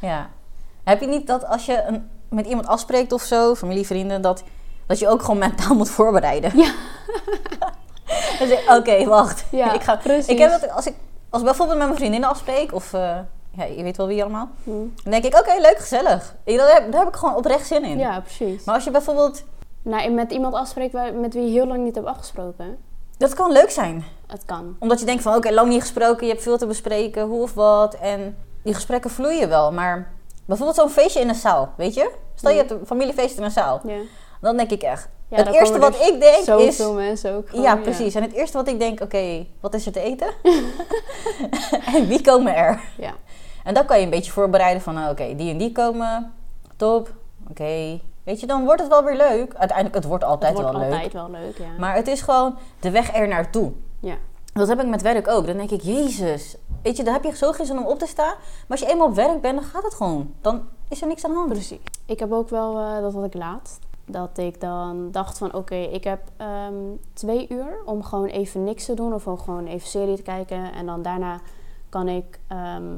[SPEAKER 2] Ja. Heb je niet dat als je een, met iemand afspreekt of zo, familie, vrienden, dat, dat je ook gewoon mentaal moet voorbereiden?
[SPEAKER 1] Ja.
[SPEAKER 2] Dan zeg ik, Oké, wacht.
[SPEAKER 1] Ja,
[SPEAKER 2] ik, ga,
[SPEAKER 1] precies.
[SPEAKER 2] ik heb dat als ik als ik bijvoorbeeld met mijn vriendinnen afspreek of eh, ja, je weet wel wie allemaal.
[SPEAKER 1] Hm.
[SPEAKER 2] Dan denk ik, oké, leuk, gezellig. Ik- Daar heb, daar heb ik gewoon oprecht zin in.
[SPEAKER 1] Ja, precies.
[SPEAKER 2] Maar als je bijvoorbeeld...
[SPEAKER 1] Nou, en met iemand afspreekt waar- met wie je heel lang niet hebt afgesproken,
[SPEAKER 2] Dat kan leuk zijn.
[SPEAKER 1] het kan.
[SPEAKER 2] Omdat je denkt van, oké, lang niet gesproken. Je hebt veel te bespreken, hoe of wat. En die gesprekken vloeien wel. Maar bijvoorbeeld zo'n feestje in een zaal, weet je? Stel, je
[SPEAKER 1] Ja.
[SPEAKER 2] hebt een familiefeest in een zaal.
[SPEAKER 1] Ja.
[SPEAKER 2] Dan denk ik echt...
[SPEAKER 1] Ja,
[SPEAKER 2] het
[SPEAKER 1] dan
[SPEAKER 2] eerste
[SPEAKER 1] komen
[SPEAKER 2] wat
[SPEAKER 1] er
[SPEAKER 2] ik denk is...
[SPEAKER 1] Zoveel mensen ook. gewoon,
[SPEAKER 2] ja, precies. En het eerste wat ik denk, oké, wat is er te eten? en wie komen er?
[SPEAKER 1] Ja.
[SPEAKER 2] En dan kan je een beetje voorbereiden van, nou, oké, die en die komen. Top. Oké. Weet je, dan wordt het wel weer leuk. Uiteindelijk, het wordt altijd
[SPEAKER 1] Het wordt
[SPEAKER 2] wel leuk.
[SPEAKER 1] altijd wel leuk, ja.
[SPEAKER 2] Maar het is gewoon de weg er naartoe.
[SPEAKER 1] Ja.
[SPEAKER 2] Dat heb ik met werk ook. Dan denk ik, jezus. Weet je, daar heb je zo geen zin om op te staan. Maar als je eenmaal op werk bent, dan gaat het gewoon. Dan is er niks aan de hand.
[SPEAKER 1] Precies. Ik heb ook wel, eh, dat had ik laatst. dat ik dan dacht van oké, ik heb ehm, twee uur om gewoon even niks te doen of om gewoon even serie te kijken. En dan daarna kan ik, ehm,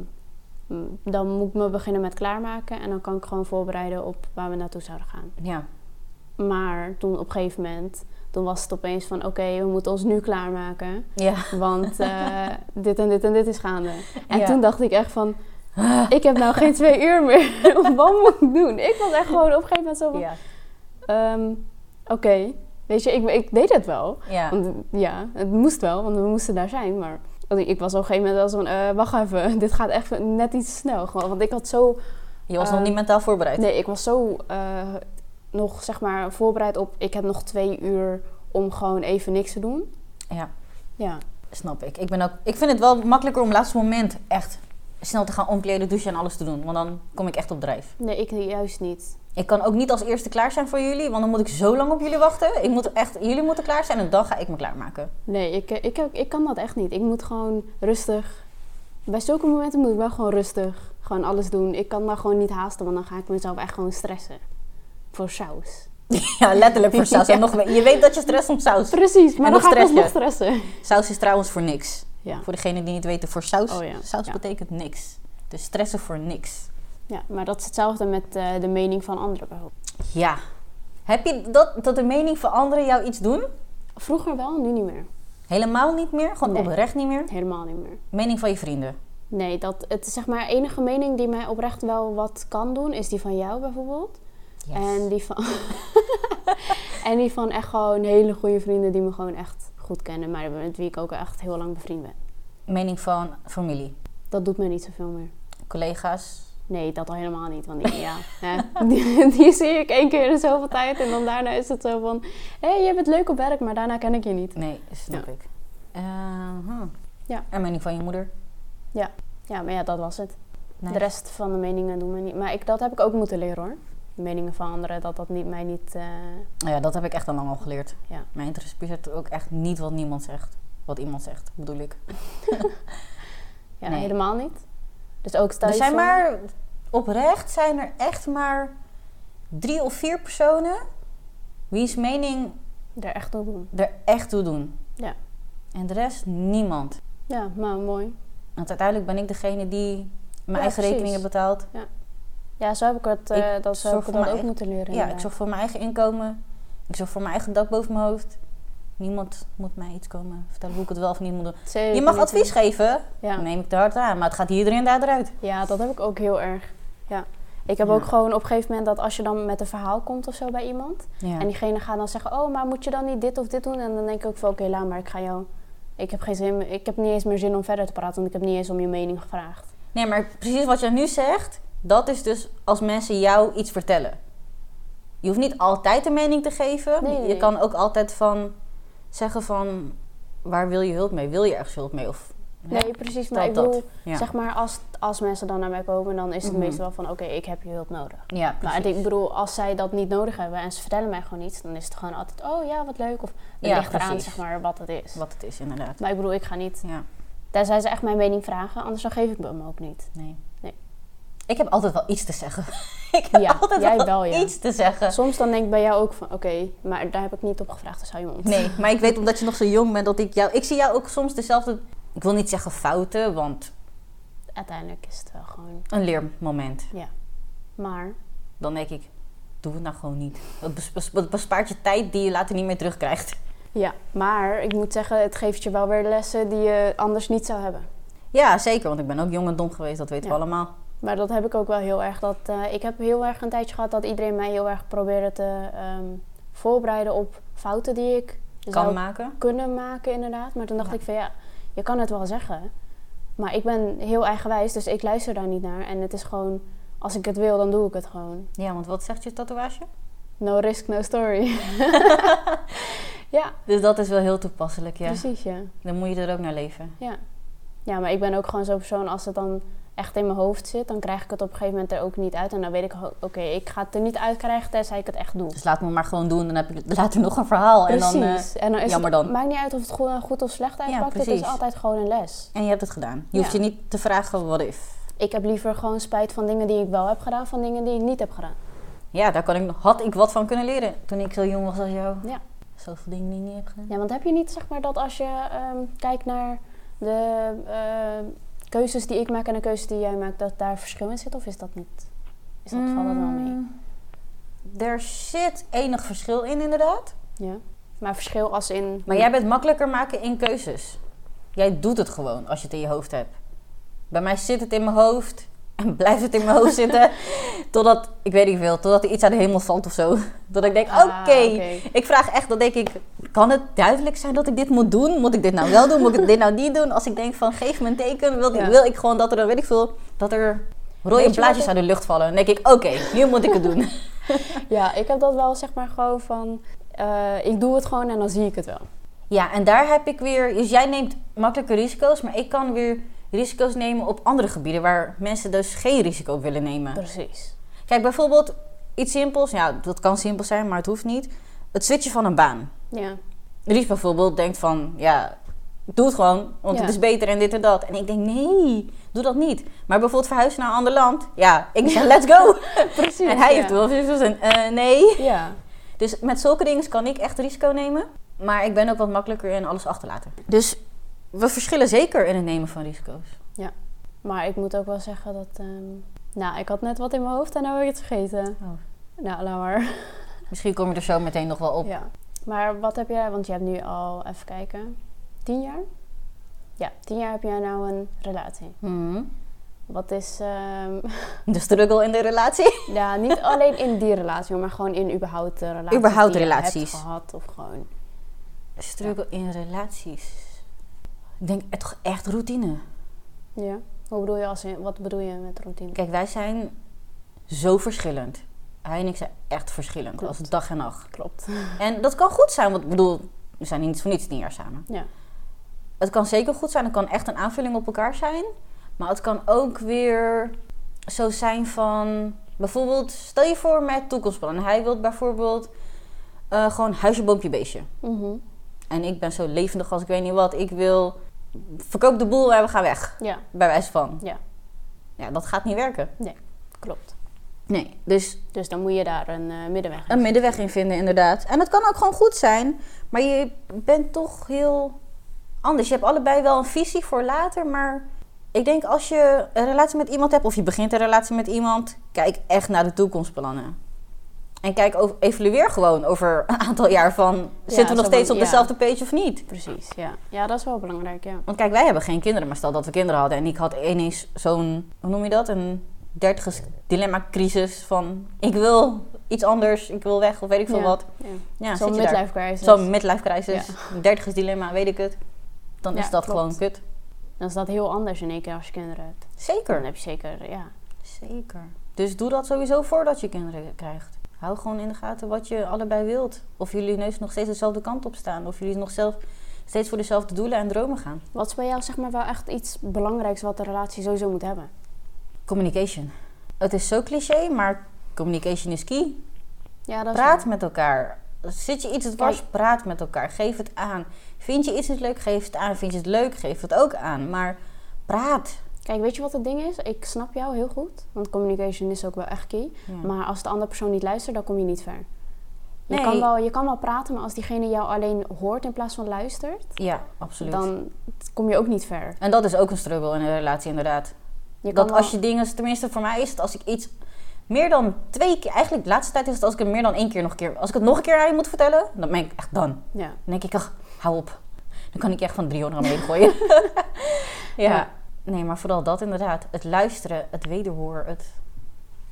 [SPEAKER 1] m- dan moet ik me beginnen met klaarmaken en dan kan ik gewoon voorbereiden op waar we naartoe zouden gaan.
[SPEAKER 2] Ja.
[SPEAKER 1] Maar toen op een gegeven moment, toen was het opeens van oké, we moeten ons nu klaarmaken.
[SPEAKER 2] Ja.
[SPEAKER 1] Want eh, dit en dit en dit is gaande. En
[SPEAKER 2] Ja. Ah.
[SPEAKER 1] toen dacht ik echt van, ik heb nou geen twee uur meer. Wat moet ik doen? Ik was echt gewoon op een gegeven moment zo van,
[SPEAKER 2] Ja.
[SPEAKER 1] ehm, oké, weet je, ik, ik deed het wel.
[SPEAKER 2] Ja.
[SPEAKER 1] Want, ja, het moest wel, want we moesten daar zijn. Maar want ik, ik was op een gegeven moment wel zo van, eh, wacht even, dit gaat echt net iets snel. Gewoon, want ik had zo,
[SPEAKER 2] Je was
[SPEAKER 1] Ehm,
[SPEAKER 2] nog niet mentaal voorbereid.
[SPEAKER 1] nee, ik was zo eh, nog zeg maar voorbereid op, ik heb nog twee uur om gewoon even niks te doen.
[SPEAKER 2] Ja.
[SPEAKER 1] Ja,
[SPEAKER 2] Snap ik. Ik, ben ook, ik vind het wel makkelijker om laatste moment echt snel te gaan omkleden, douchen en alles te doen. Want dan kom ik echt op drijf.
[SPEAKER 1] nee, ik juist niet.
[SPEAKER 2] Ik kan ook niet als eerste klaar zijn voor jullie, want dan moet ik zo lang op jullie wachten. Ik moet echt, jullie moeten klaar zijn en dan ga ik me klaarmaken.
[SPEAKER 1] Nee, ik, eh, ik, heb- ik kan dat echt niet. Ik moet gewoon rustig. Bij zulke momenten moet ik wel gewoon rustig gewoon alles doen. Ik kan maar gewoon niet haasten, want dan ga ik mezelf echt gewoon stressen. Voor saus.
[SPEAKER 2] Ja, letterlijk voor saus. En nog, je weet dat je stress om saus.
[SPEAKER 1] Precies, maar
[SPEAKER 2] En
[SPEAKER 1] dan
[SPEAKER 2] nog
[SPEAKER 1] ga ik
[SPEAKER 2] stress je.
[SPEAKER 1] alsnog stressen.
[SPEAKER 2] Saus is trouwens voor niks.
[SPEAKER 1] Ja.
[SPEAKER 2] Voor degenen die niet weten, voor saus.
[SPEAKER 1] Oh ja,
[SPEAKER 2] Saus
[SPEAKER 1] ja.
[SPEAKER 2] betekent niks. Dus stressen voor niks.
[SPEAKER 1] ja, maar dat is hetzelfde met eh, de mening van anderen bijvoorbeeld.
[SPEAKER 2] Ja. Heb je dat, dat de mening van anderen jou iets doen?
[SPEAKER 1] Vroeger wel, nu niet meer.
[SPEAKER 2] Helemaal niet meer? Gewoon
[SPEAKER 1] Nee.
[SPEAKER 2] oprecht niet meer?
[SPEAKER 1] Helemaal niet meer.
[SPEAKER 2] Mening van je vrienden?
[SPEAKER 1] Nee, dat, het is zeg maar enige mening die mij oprecht wel wat kan doen, is die van jou bijvoorbeeld.
[SPEAKER 2] Yes.
[SPEAKER 1] En die van. en die van echt gewoon hele goede vrienden die me gewoon echt goed kennen. Maar met wie ik ook echt heel lang bevriend ben.
[SPEAKER 2] Mening van familie?
[SPEAKER 1] Dat doet me niet zoveel meer.
[SPEAKER 2] Collega's?
[SPEAKER 1] Nee, dat al helemaal niet. Want die, ja, hè, die, die zie ik één keer in zoveel tijd. En dan daarna is het zo van... Hé, hey, je bent leuk op werk, maar daarna ken ik je niet.
[SPEAKER 2] Nee, snap ik. Eh, hm.
[SPEAKER 1] Ja.
[SPEAKER 2] En mening van je moeder?
[SPEAKER 1] Ja, maar ja, dat was het.
[SPEAKER 2] Nee.
[SPEAKER 1] De rest van de meningen doen me niet. Maar ik, dat heb ik ook moeten leren hoor. De meningen van anderen, dat dat niet, mij niet... eh,
[SPEAKER 2] Nou Ja, dat heb ik echt al lang al geleerd.
[SPEAKER 1] Ja.
[SPEAKER 2] Mij interesseert ook echt niet wat niemand zegt. Wat iemand zegt, bedoel ik.
[SPEAKER 1] ja,
[SPEAKER 2] Nee.
[SPEAKER 1] helemaal niet. Dus ook
[SPEAKER 2] Er
[SPEAKER 1] thuis...
[SPEAKER 2] zijn
[SPEAKER 1] dan-
[SPEAKER 2] maar, oprecht zijn er echt maar drie of vier personen wiens mening
[SPEAKER 1] Daar echt op doen.
[SPEAKER 2] er echt toe doen.
[SPEAKER 1] Ja.
[SPEAKER 2] En de rest niemand.
[SPEAKER 1] Ja, maar mooi.
[SPEAKER 2] Want uiteindelijk ben ik degene die
[SPEAKER 1] Ja,
[SPEAKER 2] mijn eigen
[SPEAKER 1] precies.
[SPEAKER 2] rekeningen betaalt.
[SPEAKER 1] Ja, zo heb ik, het, eh, dat, zo heb
[SPEAKER 2] zorg
[SPEAKER 1] ik
[SPEAKER 2] voor
[SPEAKER 1] dat
[SPEAKER 2] mijn
[SPEAKER 1] ook moeten leren.
[SPEAKER 2] Ja, ik
[SPEAKER 1] inderdaad.
[SPEAKER 2] zorg voor mijn eigen inkomen. Ik zorg voor mijn eigen dak boven mijn hoofd. Niemand moet mij iets komen vertellen hoe ik het wel of niet moet doen.
[SPEAKER 1] Zeker
[SPEAKER 2] Je mag
[SPEAKER 1] niet.
[SPEAKER 2] advies geven,
[SPEAKER 1] Ja.
[SPEAKER 2] neem ik te hard aan. Maar het gaat hier erin daar eruit.
[SPEAKER 1] ja, dat heb ik ook heel erg. Ja. Ik heb
[SPEAKER 2] Ja.
[SPEAKER 1] ook gewoon op een gegeven moment dat als je dan met een verhaal komt of zo bij iemand.
[SPEAKER 2] Ja.
[SPEAKER 1] En diegene gaat dan zeggen, oh, maar moet je dan niet dit of dit doen? En dan denk ik ook van, oké, laat maar, ik ga jou... Ik heb, geen zin, meer- ik heb niet eens meer zin om verder te praten, want ik heb niet eens om je mening gevraagd.
[SPEAKER 2] Nee, maar precies wat je nu zegt, dat is dus als mensen jou iets vertellen. Je hoeft niet altijd een mening te geven.
[SPEAKER 1] Nee, nee,
[SPEAKER 2] je
[SPEAKER 1] nee.
[SPEAKER 2] kan ook altijd van zeggen van waar wil je hulp mee? Wil je ergens hulp mee? Of
[SPEAKER 1] Nee, precies, maar
[SPEAKER 2] dat,
[SPEAKER 1] ik
[SPEAKER 2] dat.
[SPEAKER 1] bedoel,
[SPEAKER 2] ja.
[SPEAKER 1] zeg maar, als, als mensen dan naar mij komen, dan is het
[SPEAKER 2] Mhm.
[SPEAKER 1] meestal wel van, oké, ik heb je hulp nodig.
[SPEAKER 2] ja,
[SPEAKER 1] Maar
[SPEAKER 2] precies.
[SPEAKER 1] ik bedoel, als zij dat niet nodig hebben en ze vertellen mij gewoon iets, dan is het gewoon altijd, oh ja, wat leuk. Of het
[SPEAKER 2] Ja,
[SPEAKER 1] ligt eraan,
[SPEAKER 2] precies.
[SPEAKER 1] zeg maar, wat het is.
[SPEAKER 2] Wat het is inderdaad.
[SPEAKER 1] Maar ik bedoel, ik ga niet.
[SPEAKER 2] Ja,
[SPEAKER 1] Tenzij ze echt mijn mening vragen, anders dan geef ik me hem ook niet.
[SPEAKER 2] nee.
[SPEAKER 1] Nee.
[SPEAKER 2] Ik heb altijd wel iets te zeggen. ik heb
[SPEAKER 1] Ja,
[SPEAKER 2] altijd
[SPEAKER 1] jij
[SPEAKER 2] wel,
[SPEAKER 1] wel, ja.
[SPEAKER 2] iets te zeggen.
[SPEAKER 1] Soms dan denk ik bij jou ook van, oké, maar daar heb ik niet op gevraagd, dus hou je mond.
[SPEAKER 2] Nee, maar ik weet omdat je nog zo jong bent dat ik jou... Ik zie jou ook soms dezelfde... Ik wil niet zeggen fouten, want
[SPEAKER 1] Uiteindelijk is het wel gewoon,
[SPEAKER 2] een leermoment.
[SPEAKER 1] maar
[SPEAKER 2] dan denk ik, doe het nou gewoon niet. Dat bes- bes- dat bespaart je tijd die je later niet meer terugkrijgt.
[SPEAKER 1] ja. Maar ik moet zeggen, het geeft je wel weer lessen die je anders niet zou hebben.
[SPEAKER 2] Ja, zeker, want ik ben ook jong en dom geweest, dat weten we
[SPEAKER 1] Ja.
[SPEAKER 2] allemaal.
[SPEAKER 1] Maar dat heb ik ook wel heel erg. Dat, eh, ik heb heel erg een tijdje gehad dat iedereen mij heel erg probeerde te ehm, voorbereiden op fouten die ik
[SPEAKER 2] Kan
[SPEAKER 1] zou
[SPEAKER 2] maken.
[SPEAKER 1] kunnen maken, inderdaad. Maar toen dacht
[SPEAKER 2] Ja.
[SPEAKER 1] ik van ja, je kan het wel zeggen. Maar ik ben heel eigenwijs, dus ik luister daar niet naar. En het is gewoon, als ik het wil, dan doe ik het gewoon.
[SPEAKER 2] Ja, want wat zegt je tatoeage?
[SPEAKER 1] No risk, no story. ja,
[SPEAKER 2] Dus dat is wel heel toepasselijk, ja.
[SPEAKER 1] precies, ja.
[SPEAKER 2] Dan moet je er ook naar leven.
[SPEAKER 1] ja. Ja, maar ik ben ook gewoon zo'n persoon, als het dan echt in mijn hoofd zit, dan krijg ik het op een gegeven moment er ook niet uit. En dan weet ik, ho- oké, ik ga het er niet uit krijgen tenzij ik het echt doe.
[SPEAKER 2] Dus laat me maar gewoon doen, dan heb ik later nog een verhaal.
[SPEAKER 1] Precies.
[SPEAKER 2] En, dan, eh,
[SPEAKER 1] is
[SPEAKER 2] jammer
[SPEAKER 1] het,
[SPEAKER 2] dan.
[SPEAKER 1] maakt niet uit of het goed, goed of slecht uitpakt, het is
[SPEAKER 2] precies.
[SPEAKER 1] altijd gewoon een les.
[SPEAKER 2] en je hebt het gedaan. Je hoeft
[SPEAKER 1] Ja.
[SPEAKER 2] je niet te vragen, what if?
[SPEAKER 1] Ik heb liever gewoon spijt van dingen die ik wel heb gedaan, van dingen die ik niet heb gedaan.
[SPEAKER 2] Ja, daar kan ik, had ik wat van kunnen leren toen ik zo jong was als jou.
[SPEAKER 1] Ja.
[SPEAKER 2] Zoveel dingen die ik niet heb gedaan.
[SPEAKER 1] Ja, want heb je niet zeg maar dat als je ehm, kijkt naar de eh, keuzes die ik maak en de keuzes die jij maakt, dat daar verschil in zit? Of is dat niet? Is dus dat valt dat wel mee?
[SPEAKER 2] Mm, Er zit enig verschil in, inderdaad.
[SPEAKER 1] Ja. Maar verschil als in.
[SPEAKER 2] Maar jij bent makkelijker maken in keuzes. Jij doet het gewoon als je het in je hoofd hebt. Bij mij zit het in mijn hoofd en blijft het in mijn hoofd zitten. Totdat, ik weet niet veel, totdat er iets uit de hemel valt of zo. Dat ik denk,
[SPEAKER 1] Ah,
[SPEAKER 2] oké. Ik vraag echt, dan denk ik, kan het duidelijk zijn dat ik dit moet doen? Moet ik dit nou wel doen? Moet ik dit nou niet doen? Als ik denk van, geef me een teken, wil, ik-
[SPEAKER 1] Ja.
[SPEAKER 2] wil ik gewoon dat er, dan weet ik veel, dat er
[SPEAKER 1] Weet je
[SPEAKER 2] rode
[SPEAKER 1] wat
[SPEAKER 2] blaadjes
[SPEAKER 1] ik-
[SPEAKER 2] uit de lucht vallen. Dan denk ik, oké, nu moet ik het doen.
[SPEAKER 1] Ja, ik heb dat wel zeg maar gewoon van. eh, ik doe het gewoon en dan zie ik het wel.
[SPEAKER 2] Ja, en daar heb ik weer. Dus jij neemt makkelijke risico's, maar ik kan weer risico's nemen op andere gebieden waar mensen dus geen risico op willen nemen.
[SPEAKER 1] Precies.
[SPEAKER 2] Kijk, bijvoorbeeld iets simpels. Ja, dat kan simpel zijn, maar het hoeft niet. Het switchen van een baan.
[SPEAKER 1] Ja.
[SPEAKER 2] Ries bijvoorbeeld denkt van, ja, doe het gewoon, want
[SPEAKER 1] Ja.
[SPEAKER 2] het is beter en dit en dat. En ik denk, nee, doe dat niet. Maar bijvoorbeeld verhuizen naar een ander land. Ja, ik zeg, let's go.
[SPEAKER 1] Precies.
[SPEAKER 2] en hij
[SPEAKER 1] ja.
[SPEAKER 2] heeft wel zoiets van, eh, nee.
[SPEAKER 1] Ja.
[SPEAKER 2] Dus met zulke dingen kan ik echt risico nemen. Maar ik ben ook wat makkelijker in alles achterlaten. Dus we verschillen zeker in het nemen van risico's.
[SPEAKER 1] Maar ik moet ook wel zeggen dat. ehm, nou, ik had net wat in mijn hoofd en nou heb ik het vergeten.
[SPEAKER 2] Oh.
[SPEAKER 1] Nou, laat maar.
[SPEAKER 2] Misschien kom je er zo meteen nog wel op.
[SPEAKER 1] Ja. Maar wat heb jij, want je hebt nu al, even kijken, tien jaar? Ja, tien jaar heb jij nou een relatie.
[SPEAKER 2] Mhm.
[SPEAKER 1] Wat is, ehm,
[SPEAKER 2] De struggle in de relatie.
[SPEAKER 1] ja, niet alleen in die relatie, maar gewoon in überhaupt de relaties
[SPEAKER 2] Überhaupt
[SPEAKER 1] die je
[SPEAKER 2] relaties.
[SPEAKER 1] hebt gehad of gewoon.
[SPEAKER 2] Struggle in relaties. Ik denk het toch echt routine.
[SPEAKER 1] Ja. Hoe bedoel je als in, wat bedoel je met routine?
[SPEAKER 2] Kijk, wij zijn zo verschillend. Hij en ik zijn echt verschillend.
[SPEAKER 1] Klopt.
[SPEAKER 2] Als dag en nacht.
[SPEAKER 1] Klopt.
[SPEAKER 2] En dat kan goed zijn, want ik bedoel, we zijn niet voor niets tien jaar samen.
[SPEAKER 1] Ja.
[SPEAKER 2] Het kan zeker goed zijn, het kan echt een aanvulling op elkaar zijn. Maar het kan ook weer zo zijn van, bijvoorbeeld, stel je voor met toekomstplannen. Hij wil bijvoorbeeld eh, gewoon huisje, boompje, beestje.
[SPEAKER 1] Mhm.
[SPEAKER 2] En ik ben zo levendig als ik weet niet wat. Ik wil, verkoop de boel en we gaan weg,
[SPEAKER 1] Ja,
[SPEAKER 2] bij wijze van.
[SPEAKER 1] Ja.
[SPEAKER 2] Ja, dat gaat niet werken.
[SPEAKER 1] klopt.
[SPEAKER 2] Nee, dus
[SPEAKER 1] Dus dan moet je daar een eh, middenweg in
[SPEAKER 2] een middenweg in vinden, inderdaad. En dat kan ook gewoon goed zijn, maar je bent toch heel anders. Je hebt allebei wel een visie voor later, maar ik denk als je een relatie met iemand hebt of je begint een relatie met iemand, kijk echt naar de toekomstplannen. En kijk, over- evalueer gewoon over een aantal jaar van, zitten we
[SPEAKER 1] zo
[SPEAKER 2] nog steeds
[SPEAKER 1] van-
[SPEAKER 2] op
[SPEAKER 1] ja.
[SPEAKER 2] dezelfde page of niet?
[SPEAKER 1] Precies, ja. Ja, dat is wel belangrijk, ja.
[SPEAKER 2] Want kijk, wij hebben geen kinderen, maar stel dat we kinderen hadden en ik had ineens zo'n, hoe noem je dat? Een dertigers dilemma crisis van, ik wil iets anders, ik wil weg of weet ik veel
[SPEAKER 1] Ja.
[SPEAKER 2] wat.
[SPEAKER 1] ja.
[SPEAKER 2] Ja,
[SPEAKER 1] Zo'n
[SPEAKER 2] zit je daar.
[SPEAKER 1] midlife crisis.
[SPEAKER 2] Zo'n midlife crisis, dertigers dilemma, weet ik het. Dan
[SPEAKER 1] Ja,
[SPEAKER 2] is dat
[SPEAKER 1] klopt.
[SPEAKER 2] gewoon kut.
[SPEAKER 1] Dan is dat heel anders in één keer als je kinderen hebt. Dan
[SPEAKER 2] Zeker.
[SPEAKER 1] heb je zeker, ja.
[SPEAKER 2] Zeker. Dus doe dat sowieso voordat je kinderen krijgt. Hou gewoon in de gaten wat je allebei wilt. Of jullie neus nog steeds dezelfde kant op staan. Of jullie nog zelf steeds voor dezelfde doelen en dromen gaan.
[SPEAKER 1] Wat is bij jou zeg maar wel echt iets belangrijks wat de relatie sowieso moet hebben?
[SPEAKER 2] Communication. Het is zo cliché, maar communication is key.
[SPEAKER 1] Ja, dat
[SPEAKER 2] Praat
[SPEAKER 1] waar.
[SPEAKER 2] met elkaar. Zit je iets dwars, praat met elkaar. Geef het aan. Vind je iets niet leuk, geef het aan. Vind je het leuk, geef het ook aan. Maar praat.
[SPEAKER 1] Kijk, weet je wat het ding is? Ik snap jou heel goed, want communication is ook wel echt key.
[SPEAKER 2] Ja.
[SPEAKER 1] Maar als de andere persoon niet luistert, dan kom je niet ver. Je,
[SPEAKER 2] Nee.
[SPEAKER 1] kan wel, je kan wel praten, maar als diegene jou alleen hoort in plaats van luistert,
[SPEAKER 2] Ja, absoluut.
[SPEAKER 1] dan kom je ook niet ver.
[SPEAKER 2] En dat is ook een struggle in een relatie, inderdaad.
[SPEAKER 1] Je kan
[SPEAKER 2] dat
[SPEAKER 1] wel-
[SPEAKER 2] als je dingen, tenminste voor mij is het als ik iets meer dan twee keer, eigenlijk de laatste tijd is het als ik het meer dan één keer nog een keer, als ik het nog een keer aan je moet vertellen, dan ben ik echt dan. Dan
[SPEAKER 1] Ja.
[SPEAKER 2] denk ik, ach, hou op. Dan kan ik je echt van 300 naar beneden gooien. ja.
[SPEAKER 1] Ja.
[SPEAKER 2] Nee, maar vooral dat inderdaad. Het luisteren, het wederhoor, het...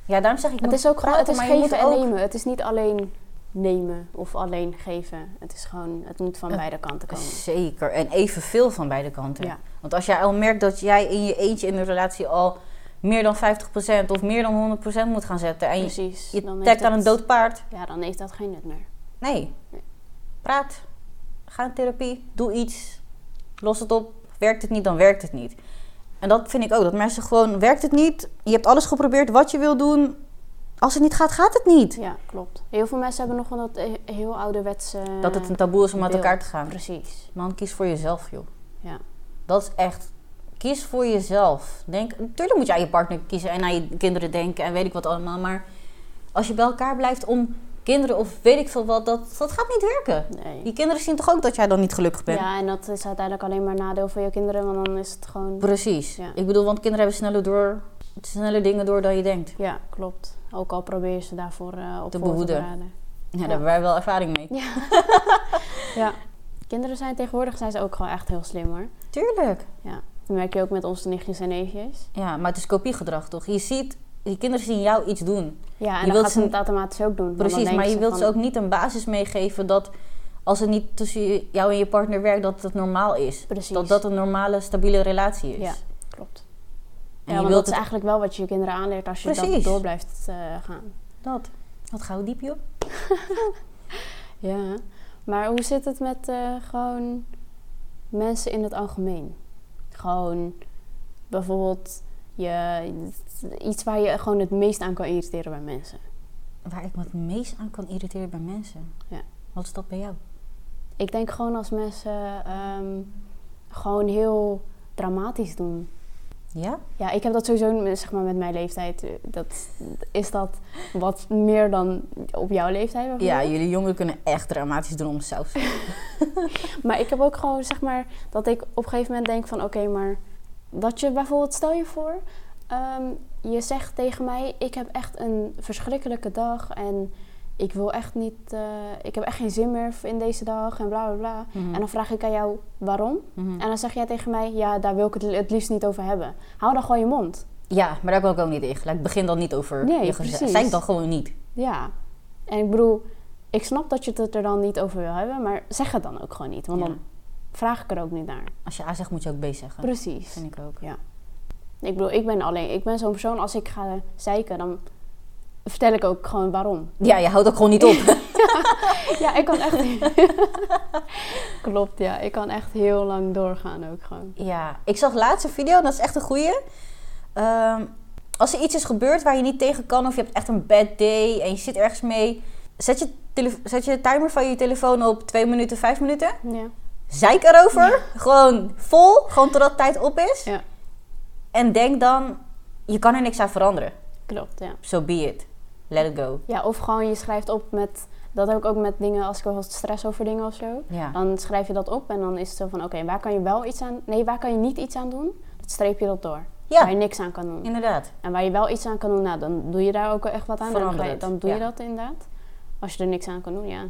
[SPEAKER 2] Ja, daarom zeg ik, je
[SPEAKER 1] Het
[SPEAKER 2] moet
[SPEAKER 1] is ook gewoon, het
[SPEAKER 2] praten,
[SPEAKER 1] is
[SPEAKER 2] maar je moet
[SPEAKER 1] geven en
[SPEAKER 2] ook-
[SPEAKER 1] nemen. Het is niet alleen nemen of alleen geven. Het is gewoon, het moet van
[SPEAKER 2] Het-
[SPEAKER 1] beide kanten komen.
[SPEAKER 2] Zeker, en evenveel van beide kanten.
[SPEAKER 1] Ja.
[SPEAKER 2] Want als jij al merkt dat jij in je eentje in de relatie al meer dan 50% of meer dan 100% moet gaan zetten en je,
[SPEAKER 1] Precies.
[SPEAKER 2] je
[SPEAKER 1] Dan heeft
[SPEAKER 2] trekt aan een
[SPEAKER 1] het-
[SPEAKER 2] dood paard,
[SPEAKER 1] Ja, dan heeft dat geen nut meer.
[SPEAKER 2] nee.
[SPEAKER 1] Nee.
[SPEAKER 2] Praat, ga in therapie, doe iets, los het op. Werkt het niet, dan werkt het niet. En dat vind ik ook, dat mensen gewoon, werkt het niet, je hebt alles geprobeerd wat je wil doen. Als het niet gaat, gaat het niet.
[SPEAKER 1] Ja, klopt. Heel veel mensen hebben nog wel dat eh, heel ouderwetse...
[SPEAKER 2] Dat het een taboe is om uit
[SPEAKER 1] beeld.
[SPEAKER 2] elkaar te gaan.
[SPEAKER 1] Precies.
[SPEAKER 2] Man, kies voor jezelf, joh.
[SPEAKER 1] Ja.
[SPEAKER 2] Dat is echt. Kies voor jezelf. Denk, natuurlijk moet je aan je partner kiezen en aan je kinderen denken en weet ik wat allemaal. Maar Als je bij elkaar blijft om kinderen of weet ik veel wat, dat, dat gaat niet werken.
[SPEAKER 1] Nee.
[SPEAKER 2] Die kinderen zien toch ook dat jij dan niet gelukkig bent?
[SPEAKER 1] Ja, en dat is uiteindelijk alleen maar een nadeel voor je kinderen, want dan is het gewoon...
[SPEAKER 2] Precies.
[SPEAKER 1] Ja.
[SPEAKER 2] Ik bedoel, want kinderen hebben sneller, door, sneller dingen door dan je denkt.
[SPEAKER 1] Ja, klopt. Ook al probeer je ze daarvoor eh op
[SPEAKER 2] Te
[SPEAKER 1] voor
[SPEAKER 2] behoeden.
[SPEAKER 1] beraden.
[SPEAKER 2] Ja, daar hebben wij wel ervaring mee.
[SPEAKER 1] Ja. Kinderen zijn tegenwoordig zijn ze ook gewoon echt heel slim hoor.
[SPEAKER 2] Tuurlijk.
[SPEAKER 1] Ja. Dat merk je ook met onze nichtjes en neefjes.
[SPEAKER 2] Ja, maar het is kopiegedrag toch? Je ziet, die kinderen zien jou iets doen.
[SPEAKER 1] Ja, en dan
[SPEAKER 2] Je wilt
[SPEAKER 1] gaat ze
[SPEAKER 2] ze-
[SPEAKER 1] het automatisch ook doen. want dan
[SPEAKER 2] Precies,
[SPEAKER 1] denken
[SPEAKER 2] maar je wilt
[SPEAKER 1] van-
[SPEAKER 2] ze ook niet een basis meegeven dat als het niet tussen je- jou en je partner werkt, dat het normaal is.
[SPEAKER 1] Precies.
[SPEAKER 2] Dat dat een normale, stabiele relatie is.
[SPEAKER 1] Ja, klopt.
[SPEAKER 2] En
[SPEAKER 1] ja,
[SPEAKER 2] je
[SPEAKER 1] want
[SPEAKER 2] wilt
[SPEAKER 1] dat is
[SPEAKER 2] het...
[SPEAKER 1] eigenlijk wel wat je je kinderen aanleert als je
[SPEAKER 2] Precies.
[SPEAKER 1] dat door blijft eh, gaan.
[SPEAKER 2] Dat. Wat gauw diep, joh.
[SPEAKER 1] Ja. Maar hoe zit het met eh, gewoon mensen in het algemeen? Gewoon bijvoorbeeld je, iets waar je gewoon het meest aan kan irriteren bij mensen.
[SPEAKER 2] Waar ik me het meest aan kan irriteren bij mensen.
[SPEAKER 1] Ja.
[SPEAKER 2] Wat is dat bij jou?
[SPEAKER 1] Ik denk gewoon als mensen ehm, gewoon heel dramatisch doen.
[SPEAKER 2] Ja?
[SPEAKER 1] Ja, ik heb dat sowieso met- zeg maar, met mijn leeftijd. eh, Dat, is dat wat meer dan op jouw leeftijd?
[SPEAKER 2] Ja,
[SPEAKER 1] bijvoorbeeld?
[SPEAKER 2] jullie jongeren kunnen echt dramatisch doen om saus.
[SPEAKER 1] Maar ik heb ook gewoon, zeg maar, dat ik op een gegeven moment denk van... Oké, maar dat je bijvoorbeeld, stel je voor... ehm, je zegt tegen mij, ik heb echt een verschrikkelijke dag en ik wil echt niet... eh, ik heb echt geen zin meer in deze dag en bla, bla, bla.
[SPEAKER 2] Mhm.
[SPEAKER 1] En dan vraag ik aan jou, waarom?
[SPEAKER 2] Mhm.
[SPEAKER 1] En dan zeg jij tegen mij, ja, daar wil ik het, li- het liefst niet over hebben. Hou dan gewoon je mond.
[SPEAKER 2] Ja, maar daar kan ik ook niet in. Gelijk, begin dan niet over
[SPEAKER 1] Nee,
[SPEAKER 2] je gezicht.
[SPEAKER 1] precies.
[SPEAKER 2] Zeg dan gewoon niet.
[SPEAKER 1] Ja. En ik bedoel, ik snap dat je het er dan niet over wil hebben, maar zeg het dan ook gewoon niet. Want
[SPEAKER 2] Ja.
[SPEAKER 1] dan vraag ik er ook niet naar.
[SPEAKER 2] Als je A zegt, moet je ook B zeggen.
[SPEAKER 1] Precies.
[SPEAKER 2] Vind ik ook.
[SPEAKER 1] Ik bedoel, ik ben alleen, ik ben zo'n persoon, als ik ga zeiken, dan vertel ik ook gewoon waarom.
[SPEAKER 2] Ja, je houdt ook gewoon niet op.
[SPEAKER 1] Ja, ik kan echt... Klopt, ja. Ik kan echt heel lang doorgaan ook gewoon.
[SPEAKER 2] ja, ik zag laatst een video, dat is echt een goeie. Ehm, als er iets is gebeurd waar je niet tegen kan of je hebt echt een bad day en je zit ergens mee. Zet je, tele- zet je timer van je telefoon op 2 minuten, 5 minuten.
[SPEAKER 1] Ja.
[SPEAKER 2] Zeik erover. Gewoon vol. Gewoon totdat tijd op is.
[SPEAKER 1] Ja.
[SPEAKER 2] En denk dan, je kan er niks aan veranderen.
[SPEAKER 1] Klopt, ja.
[SPEAKER 2] So be it. Let it go.
[SPEAKER 1] Ja, of gewoon je schrijft op met... Dat heb ik ook met dingen, als ik wel wat stress over dingen of zo.
[SPEAKER 2] Ja.
[SPEAKER 1] Dan schrijf je dat op en dan is het zo van... Oké, waar kan je wel iets aan... Nee, waar kan je niet iets aan doen? Dat streep je dat door.
[SPEAKER 2] Ja.
[SPEAKER 1] Waar je niks aan kan doen.
[SPEAKER 2] Inderdaad.
[SPEAKER 1] En waar je wel iets aan kan doen, nou, dan doe je daar ook echt wat aan. Dan,
[SPEAKER 2] Verander
[SPEAKER 1] ga je,
[SPEAKER 2] het,
[SPEAKER 1] dan doe je
[SPEAKER 2] ja.
[SPEAKER 1] dat inderdaad. Als je er niks aan kan doen, ja,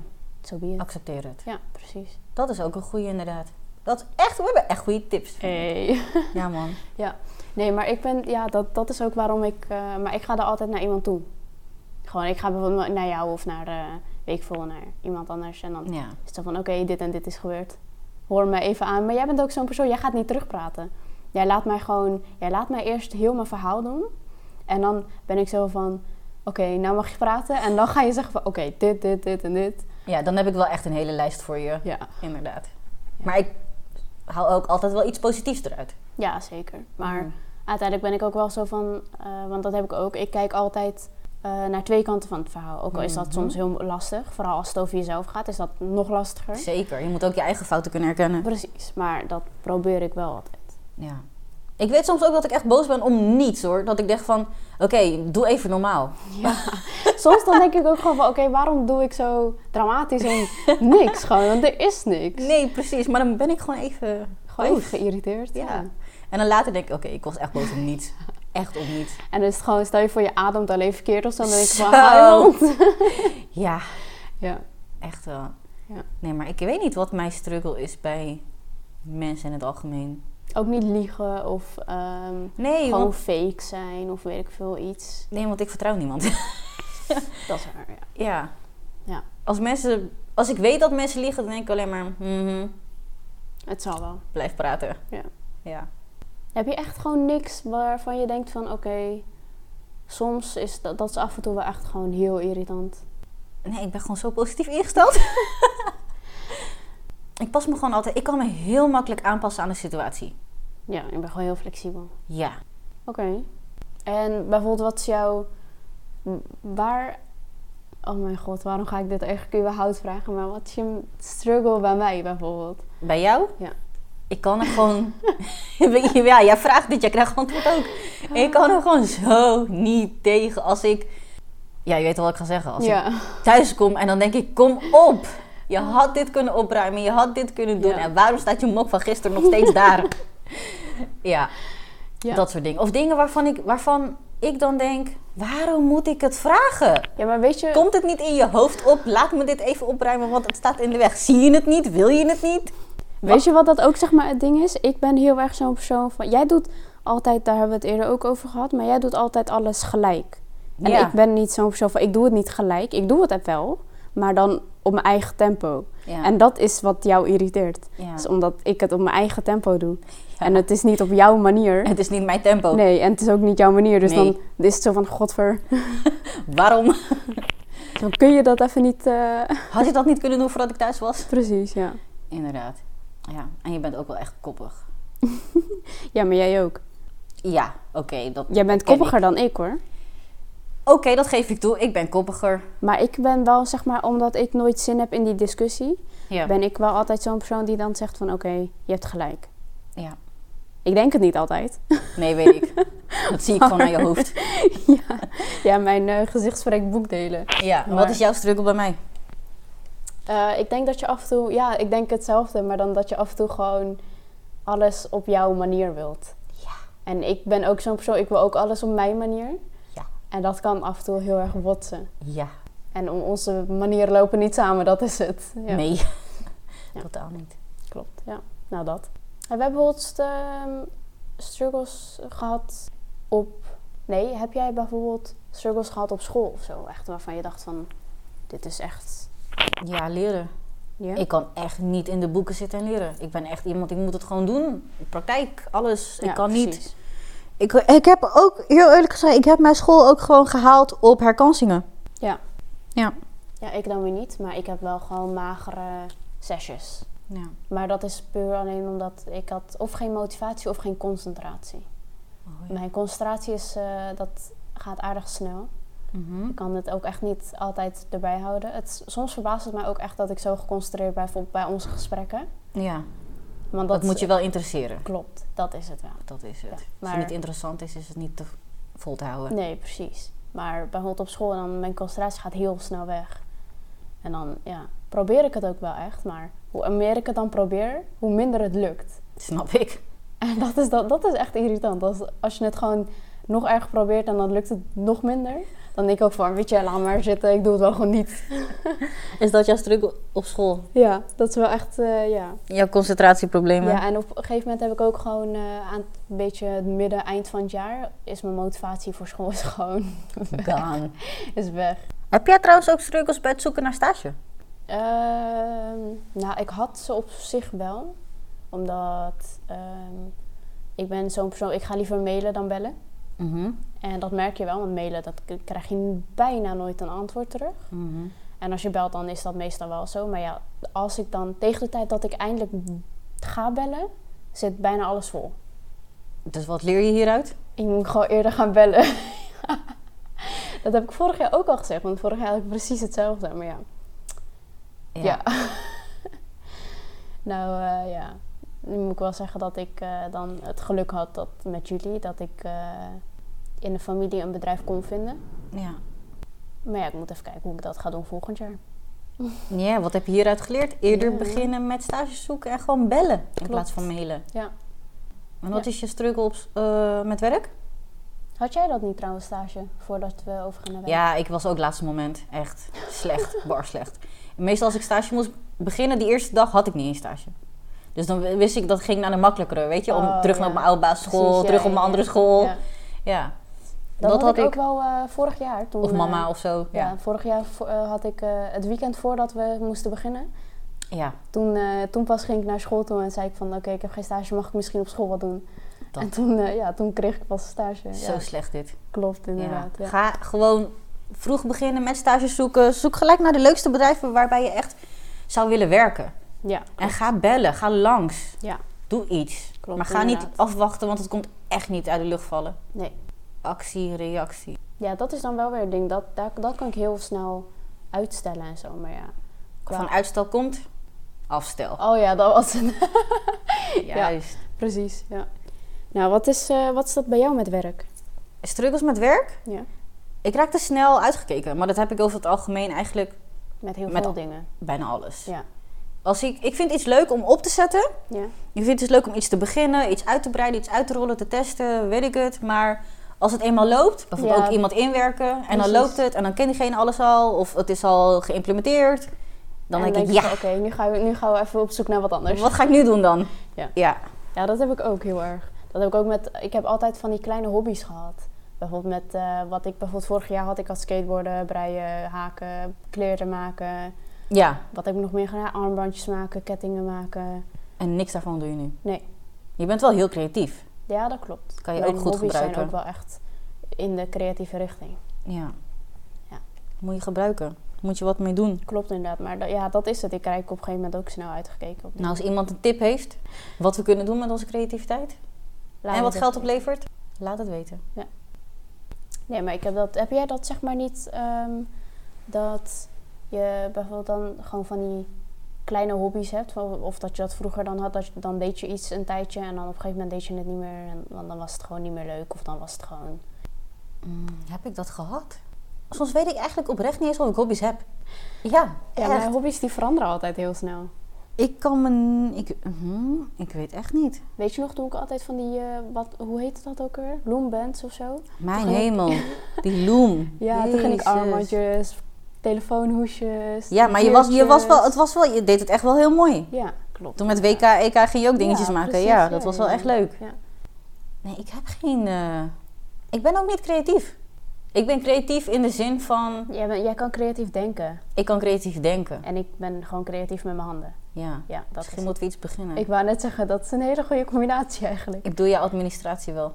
[SPEAKER 1] zo be it.
[SPEAKER 2] Accepteer het.
[SPEAKER 1] Ja, precies.
[SPEAKER 2] Dat is ook een goede inderdaad. Dat is echt, we hebben echt goede tips.
[SPEAKER 1] Eh. Hey.
[SPEAKER 2] Ja man.
[SPEAKER 1] ja. Nee, maar ik ben, ja, dat, dat is ook waarom ik, eh, maar ik ga er altijd naar iemand toe. Gewoon, ik ga bijvoorbeeld naar jou of naar, eh weet ik veel, naar iemand anders. En dan is
[SPEAKER 2] Ja.
[SPEAKER 1] het zo van, oké, dit en dit is gebeurd. Hoor me even aan. Maar jij bent ook zo'n persoon, jij gaat niet terugpraten. Jij laat mij gewoon, jij laat mij eerst heel mijn verhaal doen. En dan ben ik zo van, oké, nou mag je praten. En dan ga je zeggen van, oké, dit, dit, dit en dit.
[SPEAKER 2] ja, dan heb ik wel echt een hele lijst voor je.
[SPEAKER 1] Ja.
[SPEAKER 2] Inderdaad. Maar ik hou ook altijd wel iets positiefs eruit.
[SPEAKER 1] Ja, zeker. Maar
[SPEAKER 2] Mhm.
[SPEAKER 1] uiteindelijk ben ik ook wel zo van, eh, want dat heb ik ook. Ik kijk altijd eh, naar twee kanten van het verhaal. Ook al is dat
[SPEAKER 2] Mhm.
[SPEAKER 1] soms heel lastig, vooral als het over jezelf gaat, is dat nog lastiger.
[SPEAKER 2] Zeker. Je moet ook je eigen fouten kunnen herkennen.
[SPEAKER 1] Precies, maar dat probeer ik wel altijd.
[SPEAKER 2] Ja. Ik weet soms ook dat ik echt boos ben om niets hoor. Dat ik denk van, oké, doe even normaal.
[SPEAKER 1] Soms dan denk ik ook gewoon van, oké, waarom doe ik zo dramatisch om niks gewoon? Want er is niks.
[SPEAKER 2] Nee, precies. Maar dan ben ik gewoon even
[SPEAKER 1] Gewoon
[SPEAKER 2] boos.
[SPEAKER 1] even geïrriteerd.
[SPEAKER 2] Ja.
[SPEAKER 1] Ja.
[SPEAKER 2] En dan later denk ik, oké, ik was echt boos om niets. Echt om niets.
[SPEAKER 1] En dan is het gewoon, stel je voor je ademt alleen verkeerd of zo, dan denk ik van,
[SPEAKER 2] Zo.
[SPEAKER 1] hou je mond.
[SPEAKER 2] Ja,
[SPEAKER 1] Ja.
[SPEAKER 2] echt wel.
[SPEAKER 1] Ja.
[SPEAKER 2] Nee, maar ik weet niet wat mijn struggle is bij mensen in het algemeen.
[SPEAKER 1] Ook niet liegen of ehm,
[SPEAKER 2] Nee,
[SPEAKER 1] gewoon
[SPEAKER 2] want,
[SPEAKER 1] fake zijn of weet ik veel iets.
[SPEAKER 2] nee, want ik vertrouw niemand.
[SPEAKER 1] Dat is waar, ja.
[SPEAKER 2] ja.
[SPEAKER 1] Ja.
[SPEAKER 2] Als, mensen, als ik weet dat mensen liegen, dan denk ik alleen maar, mhm,
[SPEAKER 1] Het zal wel.
[SPEAKER 2] blijf praten.
[SPEAKER 1] Ja.
[SPEAKER 2] ja.
[SPEAKER 1] Heb je echt gewoon niks waarvan je denkt van oké, soms is dat, dat is af en toe wel echt gewoon heel irritant.
[SPEAKER 2] Nee, ik ben gewoon zo positief ingesteld. ik pas me gewoon altijd. Ik kan me heel makkelijk aanpassen aan de situatie.
[SPEAKER 1] Ja, ik ben gewoon heel flexibel.
[SPEAKER 2] Ja.
[SPEAKER 1] Oké. En bijvoorbeeld wat is jouw m- waar Oh mijn god, waarom ga ik dit eigenlijk überhaupt vragen? Maar wat is je struggle bij mij bijvoorbeeld?
[SPEAKER 2] Bij jou?
[SPEAKER 1] Ja.
[SPEAKER 2] Ik kan er gewoon. ja, jij
[SPEAKER 1] Oh.
[SPEAKER 2] vraagt dit, jij krijgt antwoord ook. Ik kan er gewoon zo niet tegen als ik. Ja, je weet wel wat ik ga zeggen. Als
[SPEAKER 1] ja.
[SPEAKER 2] ik thuis kom en dan denk ik, kom op. Je had dit kunnen opruimen, je had dit kunnen doen.
[SPEAKER 1] Ja.
[SPEAKER 2] En waarom staat je mok van gisteren nog steeds daar? ja,
[SPEAKER 1] Ja.
[SPEAKER 2] dat soort dingen. Of dingen waarvan ik, waarvan ik dan denk, waarom moet ik het vragen?
[SPEAKER 1] ja, maar weet je...
[SPEAKER 2] Komt het niet in je hoofd op? Laat me dit even opruimen, want het staat in de weg. Zie je het niet? Wil je het niet?
[SPEAKER 1] Weet je wat dat ook zeg maar het ding is? Ik ben heel erg zo'n persoon van... Jij doet altijd, daar hebben we het eerder ook over gehad... maar jij doet altijd alles gelijk. En
[SPEAKER 2] Ja.
[SPEAKER 1] ik ben niet zo'n persoon van... Ik doe het niet gelijk. Ik doe het wel, maar dan op mijn eigen tempo.
[SPEAKER 2] Ja.
[SPEAKER 1] En dat is wat jou irriteert.
[SPEAKER 2] Ja.
[SPEAKER 1] is omdat ik het op mijn eigen tempo doe.
[SPEAKER 2] Ja.
[SPEAKER 1] En het is niet op jouw manier.
[SPEAKER 2] Het is niet mijn tempo.
[SPEAKER 1] Nee, en het is ook niet jouw manier. Dus
[SPEAKER 2] Nee.
[SPEAKER 1] dan is het zo van... Godver,
[SPEAKER 2] Waarom
[SPEAKER 1] dan kun je dat even niet... eh,
[SPEAKER 2] had je dat niet kunnen doen voordat ik thuis was?
[SPEAKER 1] Precies, ja.
[SPEAKER 2] Inderdaad. Ja, en je bent ook wel echt koppig.
[SPEAKER 1] Ja, maar jij ook.
[SPEAKER 2] Ja, oké. dat...
[SPEAKER 1] Jij bent
[SPEAKER 2] Ken ik.
[SPEAKER 1] koppiger dan ik hoor.
[SPEAKER 2] Oké, dat geef ik toe. Ik ben koppiger.
[SPEAKER 1] Maar ik ben wel, zeg maar, omdat ik nooit zin heb in die discussie,
[SPEAKER 2] Ja.
[SPEAKER 1] ben ik wel altijd zo'n persoon die dan zegt van oké, je hebt gelijk.
[SPEAKER 2] ja.
[SPEAKER 1] Ik denk het niet altijd.
[SPEAKER 2] Nee, weet ik. Dat zie ik gewoon aan je hoofd.
[SPEAKER 1] ja. ja, mijn eh, gezicht spreekt boekdelen.
[SPEAKER 2] Ja,
[SPEAKER 1] Maar-
[SPEAKER 2] wat is jouw struggle bij mij?
[SPEAKER 1] Eh, ik denk dat je af en toe, ja, ik denk hetzelfde, maar dan dat je af en toe gewoon alles op jouw manier wilt.
[SPEAKER 2] Ja.
[SPEAKER 1] En ik ben ook zo'n persoon, ik wil ook alles op mijn manier.
[SPEAKER 2] Ja.
[SPEAKER 1] En dat kan af en toe heel erg botsen.
[SPEAKER 2] Ja.
[SPEAKER 1] En om onze manieren lopen niet samen, dat is het. Ja.
[SPEAKER 2] Nee.
[SPEAKER 1] Ja.
[SPEAKER 2] Totaal niet.
[SPEAKER 1] Klopt, ja. Nou, dat. En we hebben bijvoorbeeld ehm, struggles gehad op... Nee, heb jij bijvoorbeeld struggles gehad op school of zo? Echt waarvan je dacht van, dit is echt...
[SPEAKER 2] Ja, leren.
[SPEAKER 1] Ja?
[SPEAKER 2] Ik kan echt niet in de boeken zitten en leren. Ik ben echt iemand, ik moet het gewoon doen. Praktijk, alles.
[SPEAKER 1] Ja,
[SPEAKER 2] ik kan niet.
[SPEAKER 1] precies.
[SPEAKER 2] Ik, ik heb ook, heel eerlijk gezegd, ik heb mijn school ook gewoon gehaald op herkansingen.
[SPEAKER 1] Ja.
[SPEAKER 2] Ja.
[SPEAKER 1] Ja, ik dan weer niet, maar ik heb wel gewoon magere sessies.
[SPEAKER 2] Ja.
[SPEAKER 1] Maar dat is puur alleen omdat ik had of geen motivatie of geen concentratie.
[SPEAKER 2] Oh,
[SPEAKER 1] Mijn concentratie is, eh, dat gaat aardig snel.
[SPEAKER 2] Mhm.
[SPEAKER 1] Ik kan het ook echt niet altijd erbij houden. Het, soms verbaast het mij ook echt dat ik zo geconcentreerd ben bijvoorbeeld bij onze gesprekken.
[SPEAKER 2] ja.
[SPEAKER 1] Want
[SPEAKER 2] Dat, eh, moet je wel interesseren.
[SPEAKER 1] Klopt, dat is het wel.
[SPEAKER 2] Dat is het.
[SPEAKER 1] Ja,
[SPEAKER 2] Als
[SPEAKER 1] maar-
[SPEAKER 2] het niet interessant is, is het niet te vol te houden.
[SPEAKER 1] Nee, precies. Maar bijvoorbeeld op school, dan mijn concentratie gaat heel snel weg. En dan ja, probeer ik het ook wel echt. Maar hoe meer ik het dan probeer, hoe minder het lukt.
[SPEAKER 2] Snap ik.
[SPEAKER 1] En dat is, dat, dat is echt irritant. Als, als je het gewoon nog erg probeert en dan lukt het nog minder. Dan denk ik ook van, weet je, laat maar zitten. Ik doe het wel gewoon niet.
[SPEAKER 2] Is dat jouw struggle op school?
[SPEAKER 1] Ja, dat is wel echt, eh, ja.
[SPEAKER 2] Jouw concentratieproblemen?
[SPEAKER 1] Ja, en op een gegeven moment heb ik ook gewoon eh, aan het beetje het midden, eind van het jaar... is mijn motivatie voor school is gewoon
[SPEAKER 2] Gone.
[SPEAKER 1] is weg.
[SPEAKER 2] Heb jij trouwens ook struggles bij het zoeken naar stage?
[SPEAKER 1] Ehm, nou, ik had ze op zich wel. Omdat ehm, ik ben zo'n persoon, ik ga liever mailen dan bellen.
[SPEAKER 2] Mhm.
[SPEAKER 1] En dat merk je wel, want mailen, dat k- krijg je bijna nooit een antwoord terug.
[SPEAKER 2] Mhm.
[SPEAKER 1] En als je belt, dan is dat meestal wel zo. Maar ja, als ik dan tegen de tijd dat ik eindelijk ga bellen, zit bijna alles vol.
[SPEAKER 2] Dus wat leer je hieruit?
[SPEAKER 1] Ik moet gewoon eerder gaan bellen. dat heb ik vorig jaar ook al gezegd, want vorig jaar had ik precies hetzelfde. Maar ja, Ja. nou eh, ja, nu moet ik wel zeggen dat ik eh, dan het geluk had dat met jullie dat ik eh, in de familie een bedrijf kon vinden.
[SPEAKER 2] ja.
[SPEAKER 1] Maar ja, ik moet even kijken hoe ik dat ga doen volgend jaar.
[SPEAKER 2] Ja, wat heb je hieruit geleerd? Eerder
[SPEAKER 1] Ja.
[SPEAKER 2] beginnen met stages zoeken en gewoon bellen in plaats van mailen.
[SPEAKER 1] Ja.
[SPEAKER 2] En wat is je struggle op, s- eh, met werk?
[SPEAKER 1] Had jij dat niet trouwens, stage, voordat we overgaan naar werk?
[SPEAKER 2] Ja, ik was ook laatste moment echt slecht, bar slecht. En meestal als ik stage moest beginnen, die eerste dag had ik niet eens stage. Dus dan w- wist ik dat ging naar de makkelijkere, weet je? Om
[SPEAKER 1] Oh,
[SPEAKER 2] terug
[SPEAKER 1] ja.
[SPEAKER 2] naar mijn oude basisschool,
[SPEAKER 1] Precies, ja,
[SPEAKER 2] terug op
[SPEAKER 1] ja,
[SPEAKER 2] mijn andere
[SPEAKER 1] ja.
[SPEAKER 2] school.
[SPEAKER 1] Ja.
[SPEAKER 2] Ja.
[SPEAKER 1] Dat, had ik ook wel eh, vorig jaar toen.
[SPEAKER 2] Of
[SPEAKER 1] eh,
[SPEAKER 2] mama of zo.
[SPEAKER 1] ja.
[SPEAKER 2] Ja.
[SPEAKER 1] vorig jaar vo- eh, had ik eh, het weekend voordat we moesten beginnen.
[SPEAKER 2] ja.
[SPEAKER 1] Toen, eh, toen pas ging ik naar school toe en zei ik van... Oké, ik heb geen stage, mag ik misschien op school wat doen?
[SPEAKER 2] Dat.
[SPEAKER 1] En toen, eh, ja, toen kreeg ik pas stage.
[SPEAKER 2] Zo
[SPEAKER 1] ja,
[SPEAKER 2] slecht dit.
[SPEAKER 1] klopt
[SPEAKER 2] Ja.
[SPEAKER 1] inderdaad. ja.
[SPEAKER 2] Ga gewoon vroeg beginnen met stages zoeken. Zoek gelijk naar de leukste bedrijven waarbij je echt zou willen werken.
[SPEAKER 1] Ja,
[SPEAKER 2] En ga bellen, ga langs.
[SPEAKER 1] Ja.
[SPEAKER 2] Doe iets.
[SPEAKER 1] Klopt,
[SPEAKER 2] maar ga niet
[SPEAKER 1] inderdaad.
[SPEAKER 2] afwachten, want het komt echt niet uit de lucht vallen.
[SPEAKER 1] nee.
[SPEAKER 2] Actie, reactie.
[SPEAKER 1] Ja, dat is dan wel weer het ding. Dat, daar, dat kan ik heel snel uitstellen en zo. Maar ja. Qua-
[SPEAKER 2] Van uitstel komt, afstel.
[SPEAKER 1] Oh ja, dat was het.
[SPEAKER 2] Juist.
[SPEAKER 1] Precies, ja. Nou, wat is, eh, wat is dat bij jou met werk?
[SPEAKER 2] Struggles met werk?
[SPEAKER 1] Ja.
[SPEAKER 2] ik raakte snel uitgekeken. Maar dat heb ik over het algemeen eigenlijk
[SPEAKER 1] Met heel
[SPEAKER 2] Met
[SPEAKER 1] veel
[SPEAKER 2] al-
[SPEAKER 1] dingen.
[SPEAKER 2] bijna alles.
[SPEAKER 1] Ja.
[SPEAKER 2] Als ik, ik vind iets leuk om op te zetten.
[SPEAKER 1] Ja.
[SPEAKER 2] Ik vind het dus leuk om iets te beginnen, iets uit te breiden, iets uit te rollen, te testen, weet ik het. Maar als het eenmaal loopt, bijvoorbeeld
[SPEAKER 1] Ja.
[SPEAKER 2] ook iemand inwerken en dan
[SPEAKER 1] Precies.
[SPEAKER 2] loopt het en dan kent diegene alles al of het is al geïmplementeerd, dan
[SPEAKER 1] En
[SPEAKER 2] denk
[SPEAKER 1] je
[SPEAKER 2] ik, ja,
[SPEAKER 1] van, Oké, nu, gaan we- nu gaan we even op zoek naar wat anders.
[SPEAKER 2] wat ga ik nu doen dan?
[SPEAKER 1] Ja.
[SPEAKER 2] ja.
[SPEAKER 1] Ja, dat heb ik ook heel erg. Dat heb ik ook met. Ik heb altijd van die kleine hobby's gehad. Bijvoorbeeld met eh, wat ik bijvoorbeeld vorig jaar had. Ik had skateboarden, breien, haken, kleren maken.
[SPEAKER 2] Ja.
[SPEAKER 1] Wat heb ik nog meer gedaan? Armbandjes maken, kettingen maken.
[SPEAKER 2] en niks daarvan doe je nu.
[SPEAKER 1] Nee.
[SPEAKER 2] Je bent wel heel creatief.
[SPEAKER 1] Ja, dat klopt.
[SPEAKER 2] Kan je
[SPEAKER 1] Mijn
[SPEAKER 2] ook goed
[SPEAKER 1] hobby's
[SPEAKER 2] gebruiken.
[SPEAKER 1] zijn ook wel echt in de creatieve richting.
[SPEAKER 2] Ja.
[SPEAKER 1] Ja.
[SPEAKER 2] Moet je gebruiken. Moet je wat mee doen.
[SPEAKER 1] Klopt inderdaad. Maar dat- ja, dat is het. Ik krijg op een gegeven moment ook snel uitgekeken. Op die-
[SPEAKER 2] Nou, als iemand een tip heeft wat we kunnen doen met onze creativiteit
[SPEAKER 1] Laat
[SPEAKER 2] en
[SPEAKER 1] het
[SPEAKER 2] wat
[SPEAKER 1] even
[SPEAKER 2] geld
[SPEAKER 1] weten.
[SPEAKER 2] oplevert, laat het weten.
[SPEAKER 1] Nee, maar ik heb, dat, heb jij dat zeg maar niet ehm, dat je bijvoorbeeld dan gewoon van die kleine hobby's hebt? Of, of dat je dat vroeger dan had, dat je, dan deed je iets een tijdje en dan op een gegeven moment deed je het niet meer. En, want dan was het gewoon niet meer leuk of dan was het gewoon...
[SPEAKER 2] Mm, heb ik dat gehad? Soms weet ik eigenlijk oprecht niet eens of ik hobby's heb. Ja,
[SPEAKER 1] Ja,
[SPEAKER 2] echt.
[SPEAKER 1] mijn hobby's die veranderen altijd heel snel.
[SPEAKER 2] Ik kan me... Ik, mhm, ik weet echt niet.
[SPEAKER 1] Weet je nog, toen ik altijd van die, eh, wat, hoe heette dat ook weer? Bloembands of zo?
[SPEAKER 2] Mijn
[SPEAKER 1] ging ik-
[SPEAKER 2] hemel. Die loom.
[SPEAKER 1] Ja, toen ging ik
[SPEAKER 2] Jezus.
[SPEAKER 1] armbandjes, telefoonhoesjes.
[SPEAKER 2] Ja, maar je was, je, was wel,
[SPEAKER 1] kleurtjes.
[SPEAKER 2] het was wel, je deed het echt wel heel mooi.
[SPEAKER 1] Ja, klopt.
[SPEAKER 2] Toen met WK, EK ging je ook dingetjes
[SPEAKER 1] Ja,
[SPEAKER 2] maken.
[SPEAKER 1] precies,
[SPEAKER 2] ja, dat was wel echt leuk.
[SPEAKER 1] Ja.
[SPEAKER 2] Nee, ik heb geen... eh, Ik ben ook niet creatief. Ik ben creatief in de zin van...
[SPEAKER 1] Jij, bent- jij kan creatief denken.
[SPEAKER 2] Ik kan creatief denken.
[SPEAKER 1] En ik ben gewoon creatief met mijn handen.
[SPEAKER 2] Ja.
[SPEAKER 1] Ja, dat
[SPEAKER 2] Misschien
[SPEAKER 1] is
[SPEAKER 2] moeten we iets beginnen.
[SPEAKER 1] Ik
[SPEAKER 2] Ik,
[SPEAKER 1] wou net zeggen, dat is een hele goede combinatie eigenlijk.
[SPEAKER 2] doe je administratie wel.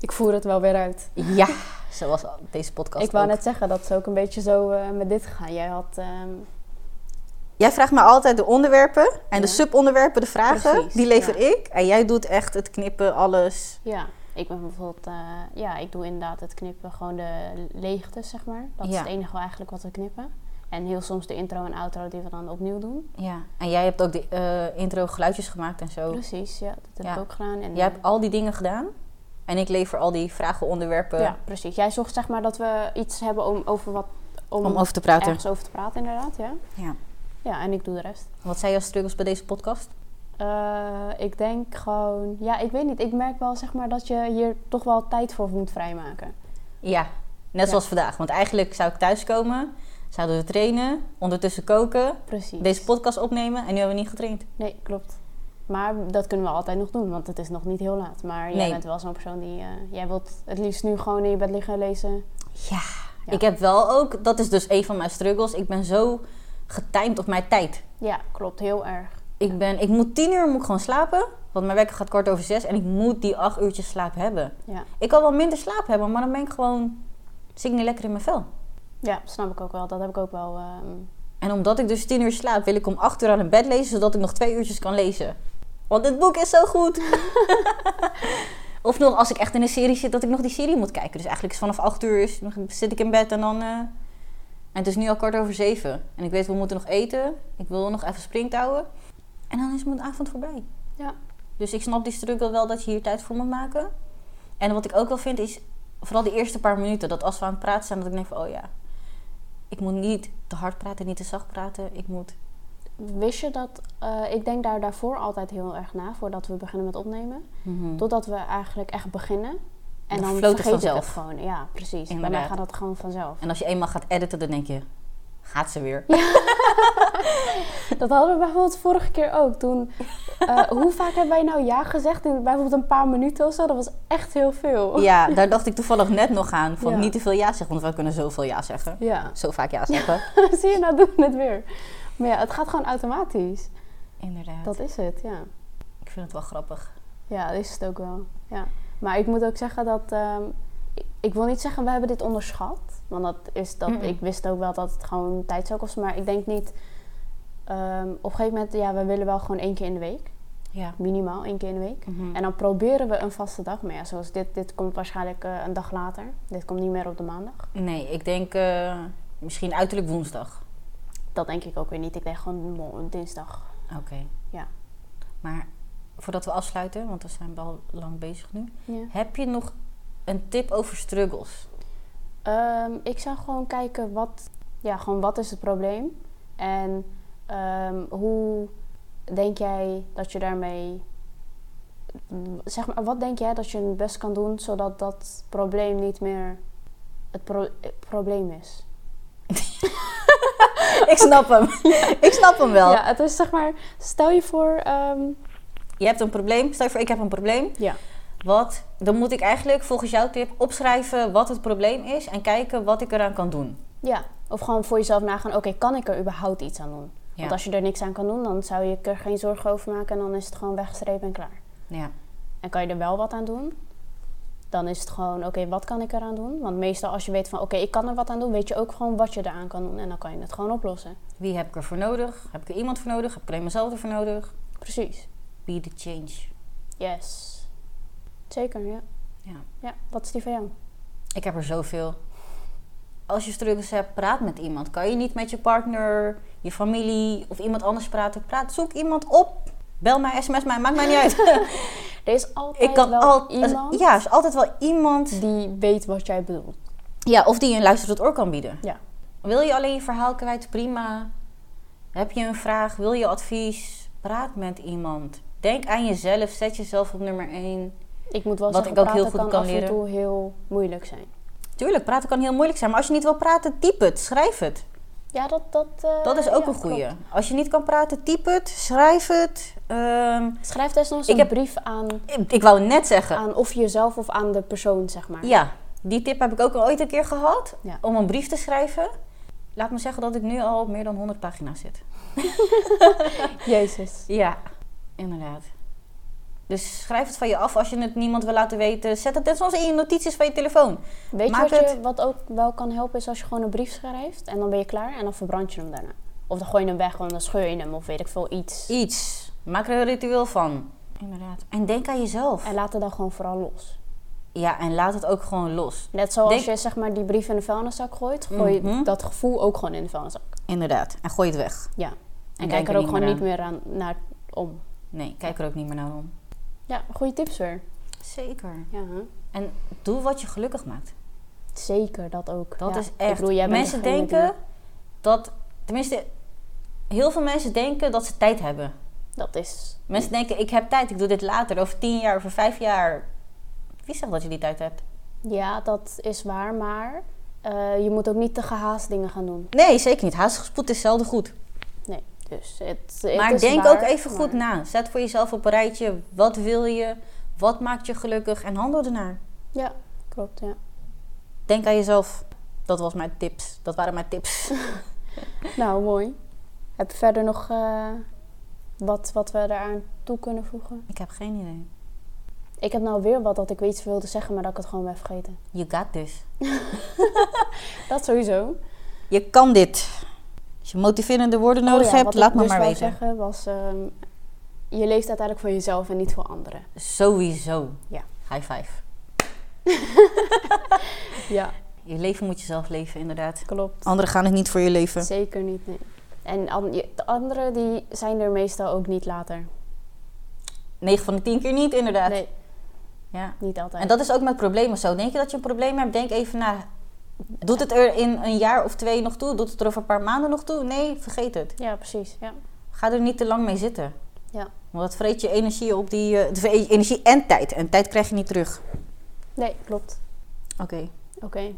[SPEAKER 1] Ik voer het wel weer uit.
[SPEAKER 2] Ja, zoals al- deze podcast
[SPEAKER 1] ik wou
[SPEAKER 2] ook.
[SPEAKER 1] net zeggen, dat is ook een beetje zo eh, met dit gegaan. Jij had... ehm,
[SPEAKER 2] Jij vraagt me altijd de onderwerpen en de
[SPEAKER 1] Ja.
[SPEAKER 2] subonderwerpen, de vragen,
[SPEAKER 1] Precies,
[SPEAKER 2] die lever
[SPEAKER 1] ja.
[SPEAKER 2] ik. En jij doet echt het knippen, alles.
[SPEAKER 1] ja, ik ben bijvoorbeeld... eh, ja, ik doe inderdaad het knippen, gewoon de leegtes, zeg maar. Dat is
[SPEAKER 2] Ja.
[SPEAKER 1] het enige wel eigenlijk wat we knippen. En heel soms de intro en outro die we dan opnieuw doen.
[SPEAKER 2] Ja. En jij hebt ook de eh, intro geluidjes gemaakt en zo.
[SPEAKER 1] Precies, ja, dat heb
[SPEAKER 2] Oh. Ja.
[SPEAKER 1] ik ook gedaan. En,
[SPEAKER 2] Jij
[SPEAKER 1] eh,
[SPEAKER 2] hebt al die dingen gedaan. En ik lever al die vragen, onderwerpen
[SPEAKER 1] Ja, precies. Jij zocht zeg maar dat we iets hebben om over wat...
[SPEAKER 2] om over te praten.
[SPEAKER 1] ergens over te praten, inderdaad, ja.
[SPEAKER 2] Ja.
[SPEAKER 1] Ja, en ik doe de rest.
[SPEAKER 2] Wat zijn jouw struggles bij deze podcast?
[SPEAKER 1] Eh, ik denk gewoon, ja, ik weet niet. Ik merk wel zeg maar dat je hier toch wel tijd voor moet vrijmaken.
[SPEAKER 2] Ja, net
[SPEAKER 1] Ja.
[SPEAKER 2] zoals vandaag. Want eigenlijk zou ik thuiskomen, zouden we trainen, ondertussen koken,
[SPEAKER 1] Precies.
[SPEAKER 2] deze podcast opnemen. En nu hebben we niet getraind.
[SPEAKER 1] Nee, klopt. Maar dat kunnen we altijd nog doen, want het is nog niet heel laat. Maar jij
[SPEAKER 2] Nee.
[SPEAKER 1] bent wel zo'n persoon die, eh, jij wilt het liefst nu gewoon in je bed liggen en lezen.
[SPEAKER 2] Ja.
[SPEAKER 1] Ja.
[SPEAKER 2] Ik heb wel ook, dat is dus een van mijn struggles. Ik ben zo getimed op mijn tijd.
[SPEAKER 1] Ja, klopt, heel erg.
[SPEAKER 2] Ik, ben, ik moet tien uur moet ik gewoon slapen. Want mijn wekker gaat kort over zes. En ik moet die acht uurtjes slaap hebben.
[SPEAKER 1] Ja.
[SPEAKER 2] Ik kan wel minder slaap hebben. Maar dan ben ik gewoon... Zit ik niet lekker in mijn vel.
[SPEAKER 1] ja, snap ik ook wel. Dat heb ik ook wel. ehm,
[SPEAKER 2] En omdat ik dus tien uur slaap. Wil ik om acht uur aan het bed lezen. Zodat ik nog twee uurtjes kan lezen. Want dit boek is zo goed. of nog als ik echt in een serie zit. Dat ik nog die serie moet kijken. Dus eigenlijk is vanaf acht uur is, nog- zit ik in bed. En dan... eh, en het is nu al kwart over zeven. En ik weet we moeten nog eten. Ik wil nog even springtouwen. En dan is mijn avond voorbij.
[SPEAKER 1] ja.
[SPEAKER 2] Dus ik snap die struggle wel dat je hier tijd voor moet maken. En wat ik ook wel vind is, vooral die eerste paar minuten, dat als we aan het praten zijn, dat ik denk van, oh ja, ik moet niet te hard praten, niet te zacht praten. Ik moet.
[SPEAKER 1] Wist je dat, eh, ik denk daar daarvoor altijd heel erg na, voordat we beginnen met opnemen.
[SPEAKER 2] Mhm.
[SPEAKER 1] Totdat we eigenlijk echt beginnen. En
[SPEAKER 2] Dan
[SPEAKER 1] dan,
[SPEAKER 2] floot het
[SPEAKER 1] vergeet ik
[SPEAKER 2] vanzelf.
[SPEAKER 1] het gewoon. Ja, precies. Bij mij
[SPEAKER 2] Inderdaad.
[SPEAKER 1] gaat dat gewoon vanzelf.
[SPEAKER 2] En als je eenmaal gaat editen, dan denk je, gaat ze weer.
[SPEAKER 1] Dat hadden we bijvoorbeeld vorige keer ook. Toen, eh, hoe vaak hebben wij nou ja gezegd? In bijvoorbeeld een paar minuten of zo. Dat was echt heel veel.
[SPEAKER 2] Ja, daar dacht ik toevallig net nog aan. Van
[SPEAKER 1] Ja.
[SPEAKER 2] niet te veel ja zeggen, want we kunnen zoveel ja zeggen.
[SPEAKER 1] Ja.
[SPEAKER 2] Zo vaak ja zeggen.
[SPEAKER 1] Zie je, nou doen we het weer. Maar ja, het gaat gewoon automatisch.
[SPEAKER 2] Inderdaad.
[SPEAKER 1] Dat is het, ja.
[SPEAKER 2] Ik vind het wel grappig.
[SPEAKER 1] Ja, dat is het ook wel. Ja. Maar ik moet ook zeggen dat... ehm, ik, ik wil niet zeggen, we hebben dit onderschat. Want dat is dat...
[SPEAKER 2] Mm-mm.
[SPEAKER 1] Ik wist ook wel dat het gewoon tijd zou kosten. Maar ik denk niet... ehm, op een gegeven moment, ja, we willen wel gewoon één keer in de week.
[SPEAKER 2] Ja.
[SPEAKER 1] Minimaal één keer in de week.
[SPEAKER 2] Mhm.
[SPEAKER 1] En dan proberen we een vaste dag. Maar ja, zoals dit, dit komt waarschijnlijk eh, een dag later. Dit komt niet meer op de maandag.
[SPEAKER 2] Nee, ik denk eh, misschien uiterlijk woensdag.
[SPEAKER 1] Dat denk ik ook weer niet. Ik denk gewoon mo- dinsdag.
[SPEAKER 2] Oké.
[SPEAKER 1] Ja.
[SPEAKER 2] Maar voordat we afsluiten, want we zijn wel lang bezig nu. Heb je nog een tip over struggles?
[SPEAKER 1] Ehm, ik zou gewoon kijken wat, ja, gewoon wat is het probleem en ehm, hoe denk jij dat je daarmee, zeg maar, wat denk jij dat je het best kan doen zodat dat probleem niet meer het pro- eh, probleem is?
[SPEAKER 2] Ik snap hem. ik snap hem wel.
[SPEAKER 1] Ja, het is zeg maar, stel je voor, ehm,
[SPEAKER 2] Je hebt een probleem. Stel je voor, ik heb een probleem.
[SPEAKER 1] ja,
[SPEAKER 2] Wat, dan moet ik eigenlijk volgens jouw tip opschrijven wat het probleem is en kijken wat ik eraan kan doen.
[SPEAKER 1] ja, of gewoon voor jezelf nagaan, oké, kan ik er überhaupt iets aan doen?
[SPEAKER 2] Ja.
[SPEAKER 1] Want als je er niks aan kan doen, dan zou je er geen zorgen over maken en dan is het gewoon weggestrepen en klaar.
[SPEAKER 2] Nou ja.
[SPEAKER 1] En kan je er wel wat aan doen? Dan is het gewoon, oké, wat kan ik eraan doen? Want meestal als je weet van, oké, ik kan er wat aan doen, weet je ook gewoon wat je eraan kan doen. En dan kan je het gewoon oplossen.
[SPEAKER 2] Wie heb ik ervoor nodig? Heb ik er iemand voor nodig? Heb ik alleen mezelf ervoor nodig?
[SPEAKER 1] Precies.
[SPEAKER 2] Be the change.
[SPEAKER 1] Yes. Zeker, ja.
[SPEAKER 2] Ja.
[SPEAKER 1] Ja, wat is die van jou?
[SPEAKER 2] Ik heb er zoveel. Als je struggles hebt, praat met iemand. Kan je niet met je partner, je familie of iemand anders praten? Praat, zoek iemand op. Bel mij, sms mij, maakt mij niet uit.
[SPEAKER 1] Er is altijd
[SPEAKER 2] ik kan
[SPEAKER 1] wel
[SPEAKER 2] altijd.
[SPEAKER 1] iemand
[SPEAKER 2] Ja, er is altijd wel iemand.
[SPEAKER 1] die weet wat jij bedoelt.
[SPEAKER 2] Ja, of die je een luisterend oor kan bieden.
[SPEAKER 1] Ja.
[SPEAKER 2] Wil je alleen je verhaal kwijt? Prima. Heb je een vraag? Wil je advies? Praat met iemand. Denk aan jezelf. Zet jezelf op nummer 1.
[SPEAKER 1] Ik moet wel
[SPEAKER 2] Wat
[SPEAKER 1] zeggen,
[SPEAKER 2] ik ook heel
[SPEAKER 1] praten
[SPEAKER 2] goed
[SPEAKER 1] kan,
[SPEAKER 2] kan
[SPEAKER 1] af en
[SPEAKER 2] leren.
[SPEAKER 1] toe heel moeilijk zijn.
[SPEAKER 2] Tuurlijk, praten kan heel moeilijk zijn. Maar als je niet wil praten, typ het. Schrijf het.
[SPEAKER 1] Ja, dat... Dat, eh,
[SPEAKER 2] Dat is ook
[SPEAKER 1] ja,
[SPEAKER 2] een goeie.
[SPEAKER 1] klopt.
[SPEAKER 2] Als je niet kan praten, typ het, schrijf het. Ehm,
[SPEAKER 1] Schrijf desnoods
[SPEAKER 2] Ik
[SPEAKER 1] een
[SPEAKER 2] heb-
[SPEAKER 1] brief aan,
[SPEAKER 2] ik, ik wou net zeggen.
[SPEAKER 1] aan of jezelf of aan de persoon, zeg maar.
[SPEAKER 2] Ja, die tip heb ik ook ooit een keer gehad.
[SPEAKER 1] Ja.
[SPEAKER 2] Om een brief te schrijven. Laat me zeggen dat ik nu al op meer dan 100 pagina's zit.
[SPEAKER 1] Jezus.
[SPEAKER 2] Ja, inderdaad. Dus schrijf het van je af als je het niemand wil laten weten. Zet het net zoals in je notities van je telefoon.
[SPEAKER 1] Weet je
[SPEAKER 2] Maak
[SPEAKER 1] wat, je
[SPEAKER 2] het-
[SPEAKER 1] wat ook wel kan helpen is als je gewoon een brief schrijft en dan ben je klaar en dan verbrand je hem daarna. Of dan gooi je hem weg, want dan scheur je hem of weet ik veel iets.
[SPEAKER 2] Iets. Maak er een ritueel van. Inderdaad. En denk aan jezelf.
[SPEAKER 1] En laat het dan gewoon vooral los.
[SPEAKER 2] Ja, en laat het ook gewoon los.
[SPEAKER 1] Net zoals
[SPEAKER 2] Denk-
[SPEAKER 1] je zeg maar die brief in de vuilniszak gooit, gooi je
[SPEAKER 2] Mhm.
[SPEAKER 1] dat gevoel ook gewoon in de vuilniszak.
[SPEAKER 2] Inderdaad. En gooi het weg.
[SPEAKER 1] Ja. En,
[SPEAKER 2] denk
[SPEAKER 1] kijk er
[SPEAKER 2] er
[SPEAKER 1] ook
[SPEAKER 2] niet
[SPEAKER 1] gewoon
[SPEAKER 2] meer
[SPEAKER 1] niet meer aan, naar om.
[SPEAKER 2] Nee, kijk er ook niet meer naar om.
[SPEAKER 1] Ja, goede tips weer.
[SPEAKER 2] Zeker.
[SPEAKER 1] Ja, hè?
[SPEAKER 2] En doe wat je gelukkig maakt.
[SPEAKER 1] zeker dat ook.
[SPEAKER 2] Dat
[SPEAKER 1] Ja.
[SPEAKER 2] is echt.
[SPEAKER 1] Ik bedoel, jij bent
[SPEAKER 2] mensen
[SPEAKER 1] degene die-
[SPEAKER 2] denken dat. Tenminste, heel veel mensen denken dat ze tijd hebben.
[SPEAKER 1] dat is.
[SPEAKER 2] Mensen denken: ik heb tijd, ik doe dit later, over tien jaar, over vijf jaar. Wie zegt dat je die tijd hebt?
[SPEAKER 1] Ja, dat is waar, maar eh, je moet ook niet te gehaast dingen gaan doen.
[SPEAKER 2] Nee, zeker niet. Haast gespoed is zelden goed.
[SPEAKER 1] Nee, dus het, het
[SPEAKER 2] maar
[SPEAKER 1] is
[SPEAKER 2] denk
[SPEAKER 1] waar,
[SPEAKER 2] ook even goed
[SPEAKER 1] maar-
[SPEAKER 2] na. Zet voor jezelf op een rijtje: wat wil je, wat maakt je gelukkig en handel ernaar.
[SPEAKER 1] Ja, klopt, ja.
[SPEAKER 2] Denk aan jezelf. Dat was mijn tips. Dat waren mijn tips.
[SPEAKER 1] Nou, mooi. Heb je verder nog eh, wat, wat we eraan toe kunnen voegen?
[SPEAKER 2] ik heb geen idee.
[SPEAKER 1] Ik heb nou weer wat dat ik weer iets wilde zeggen, maar dat ik het gewoon ben vergeten.
[SPEAKER 2] You got this.
[SPEAKER 1] Dat sowieso.
[SPEAKER 2] Je kan dit. Als je motiverende woorden nodig
[SPEAKER 1] Oh ja,
[SPEAKER 2] hebt,
[SPEAKER 1] wat
[SPEAKER 2] laat
[SPEAKER 1] ik
[SPEAKER 2] me
[SPEAKER 1] dus
[SPEAKER 2] maar
[SPEAKER 1] wou
[SPEAKER 2] weten.
[SPEAKER 1] zeggen was, ehm, je leeft uiteindelijk voor jezelf en niet voor anderen.
[SPEAKER 2] Sowieso.
[SPEAKER 1] Ja.
[SPEAKER 2] High five.
[SPEAKER 1] Ja,
[SPEAKER 2] Je leven moet je zelf leven, inderdaad.
[SPEAKER 1] klopt.
[SPEAKER 2] Anderen gaan het niet voor je leven.
[SPEAKER 1] Zeker niet, nee. En an- je- de anderen die zijn er meestal ook niet later.
[SPEAKER 2] 9 van de 10 keer niet, inderdaad.
[SPEAKER 1] Nee,
[SPEAKER 2] Ja.
[SPEAKER 1] niet altijd.
[SPEAKER 2] En dat is ook met problemen zo. Denk je dat je een probleem hebt, denk even na. Doet het er in een jaar of twee nog toe? Doet het er over een paar maanden nog toe? Nee, vergeet het.
[SPEAKER 1] Ja, precies. Ja.
[SPEAKER 2] Ga er niet te lang mee zitten.
[SPEAKER 1] Ja.
[SPEAKER 2] Want dat vreet je energie op die... eh, het vreet je energie en tijd. En tijd krijg je niet terug.
[SPEAKER 1] Nee, klopt.
[SPEAKER 2] Oké.
[SPEAKER 1] Oké.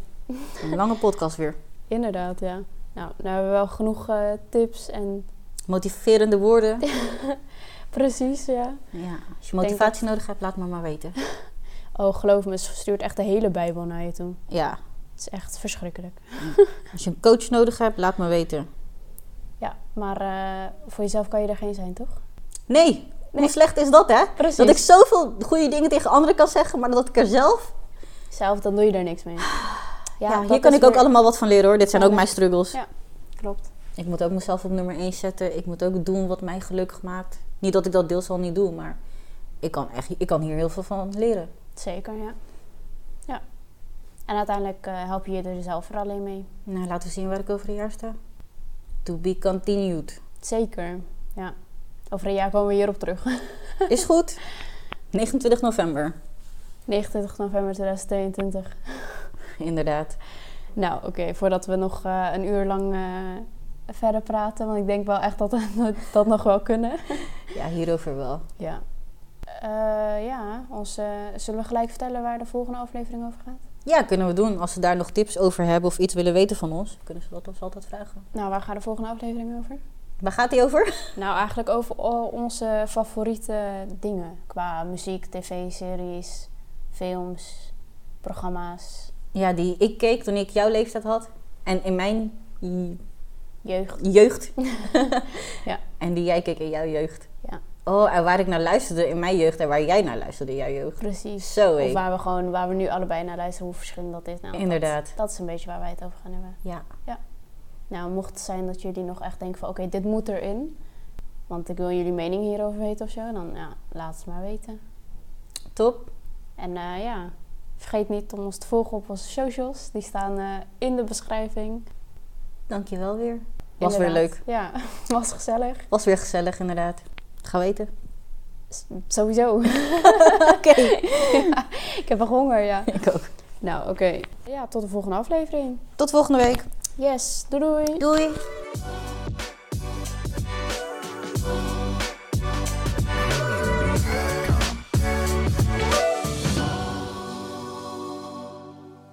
[SPEAKER 2] Een lange podcast weer.
[SPEAKER 1] Inderdaad, ja. Nou, nou hebben we wel genoeg eh, tips en
[SPEAKER 2] Motiverende woorden.
[SPEAKER 1] precies, ja.
[SPEAKER 2] Ja. Als je motivatie nodig hebt, laat me maar weten.
[SPEAKER 1] Oh, geloof me, ze stuurt echt de hele Bijbel naar je toe.
[SPEAKER 2] Ja.
[SPEAKER 1] Het is echt verschrikkelijk.
[SPEAKER 2] Als je een coach nodig hebt, laat me weten.
[SPEAKER 1] Ja, maar eh, voor jezelf kan je er geen zijn, toch?
[SPEAKER 2] Nee, hoe slecht is dat, hè?
[SPEAKER 1] Precies.
[SPEAKER 2] Dat ik zoveel goede dingen tegen anderen kan zeggen, maar dat ik er zelf...
[SPEAKER 1] Zelf, dan doe je er niks mee.
[SPEAKER 2] Ah, Ja,
[SPEAKER 1] dat
[SPEAKER 2] hier kan
[SPEAKER 1] is
[SPEAKER 2] ik ook
[SPEAKER 1] weer-
[SPEAKER 2] allemaal wat van leren, hoor. Dit zijn
[SPEAKER 1] Ja,
[SPEAKER 2] ook
[SPEAKER 1] nee.
[SPEAKER 2] mijn struggles.
[SPEAKER 1] Ja, klopt.
[SPEAKER 2] Ik moet ook mezelf op nummer 1 zetten. Ik moet ook doen wat mij gelukkig maakt. Niet dat ik dat deels al niet doe, maar ik kan, echt, ik kan hier heel veel van leren.
[SPEAKER 1] Zeker, ja. Ja. En uiteindelijk eh, help je je er zelf er alleen mee.
[SPEAKER 2] Nou, laten we zien waar ik over een jaar sta. To be continued.
[SPEAKER 1] Zeker, ja. Over een jaar komen we hierop terug.
[SPEAKER 2] Is goed. 29 november.
[SPEAKER 1] 29 november 2022.
[SPEAKER 2] Inderdaad.
[SPEAKER 1] Nou, oké, voordat we nog eh, een uur lang eh, verder praten, want ik denk wel echt dat we dat nog wel kunnen.
[SPEAKER 2] Ja, hierover wel.
[SPEAKER 1] Ja. Eh, ja, onze, zullen we gelijk vertellen waar de volgende aflevering over gaat?
[SPEAKER 2] Ja, kunnen we doen. Als ze daar nog tips over hebben of iets willen weten van ons, kunnen ze dat ons altijd vragen.
[SPEAKER 1] Nou, waar gaat de volgende aflevering over?
[SPEAKER 2] Waar gaat die over?
[SPEAKER 1] Nou, eigenlijk over al onze favoriete dingen. Qua muziek, tv-series, films, programma's,
[SPEAKER 2] Ja, die ik keek toen ik jouw leeftijd had. En in mijn i-
[SPEAKER 1] jeugd.
[SPEAKER 2] jeugd.
[SPEAKER 1] Ja.
[SPEAKER 2] En die jij keek in jouw jeugd.
[SPEAKER 1] Ja.
[SPEAKER 2] Oh, en waar ik naar luisterde in mijn jeugd en waar jij naar luisterde in jouw jeugd.
[SPEAKER 1] Precies.
[SPEAKER 2] Zo, hé.
[SPEAKER 1] Of waar we gewoon, waar we nu allebei naar luisteren, hoe verschillend dat is. Nou, dat-
[SPEAKER 2] Inderdaad.
[SPEAKER 1] Dat, is een beetje waar wij het over gaan hebben.
[SPEAKER 2] Ja.
[SPEAKER 1] Nou, mocht het zijn dat jullie nog echt denken van, oké, dit moet erin. Want ik wil jullie mening hierover weten of zo. Dan ja, laat het maar weten.
[SPEAKER 2] Top.
[SPEAKER 1] En eh, ja, vergeet niet om ons te volgen op onze socials. Die staan eh, in de beschrijving.
[SPEAKER 2] Dankjewel weer. Was weer
[SPEAKER 1] Inderdaad.
[SPEAKER 2] leuk.
[SPEAKER 1] Ja, was gezellig.
[SPEAKER 2] Was weer gezellig, inderdaad. Ga weten.
[SPEAKER 1] S- sowieso.
[SPEAKER 2] Oké.
[SPEAKER 1] Ja, ik heb wel honger, ja.
[SPEAKER 2] Ik ook.
[SPEAKER 1] Nou, oké. Ja, tot de volgende aflevering.
[SPEAKER 2] Tot volgende week.
[SPEAKER 1] Yes, doei doei.
[SPEAKER 2] Doei.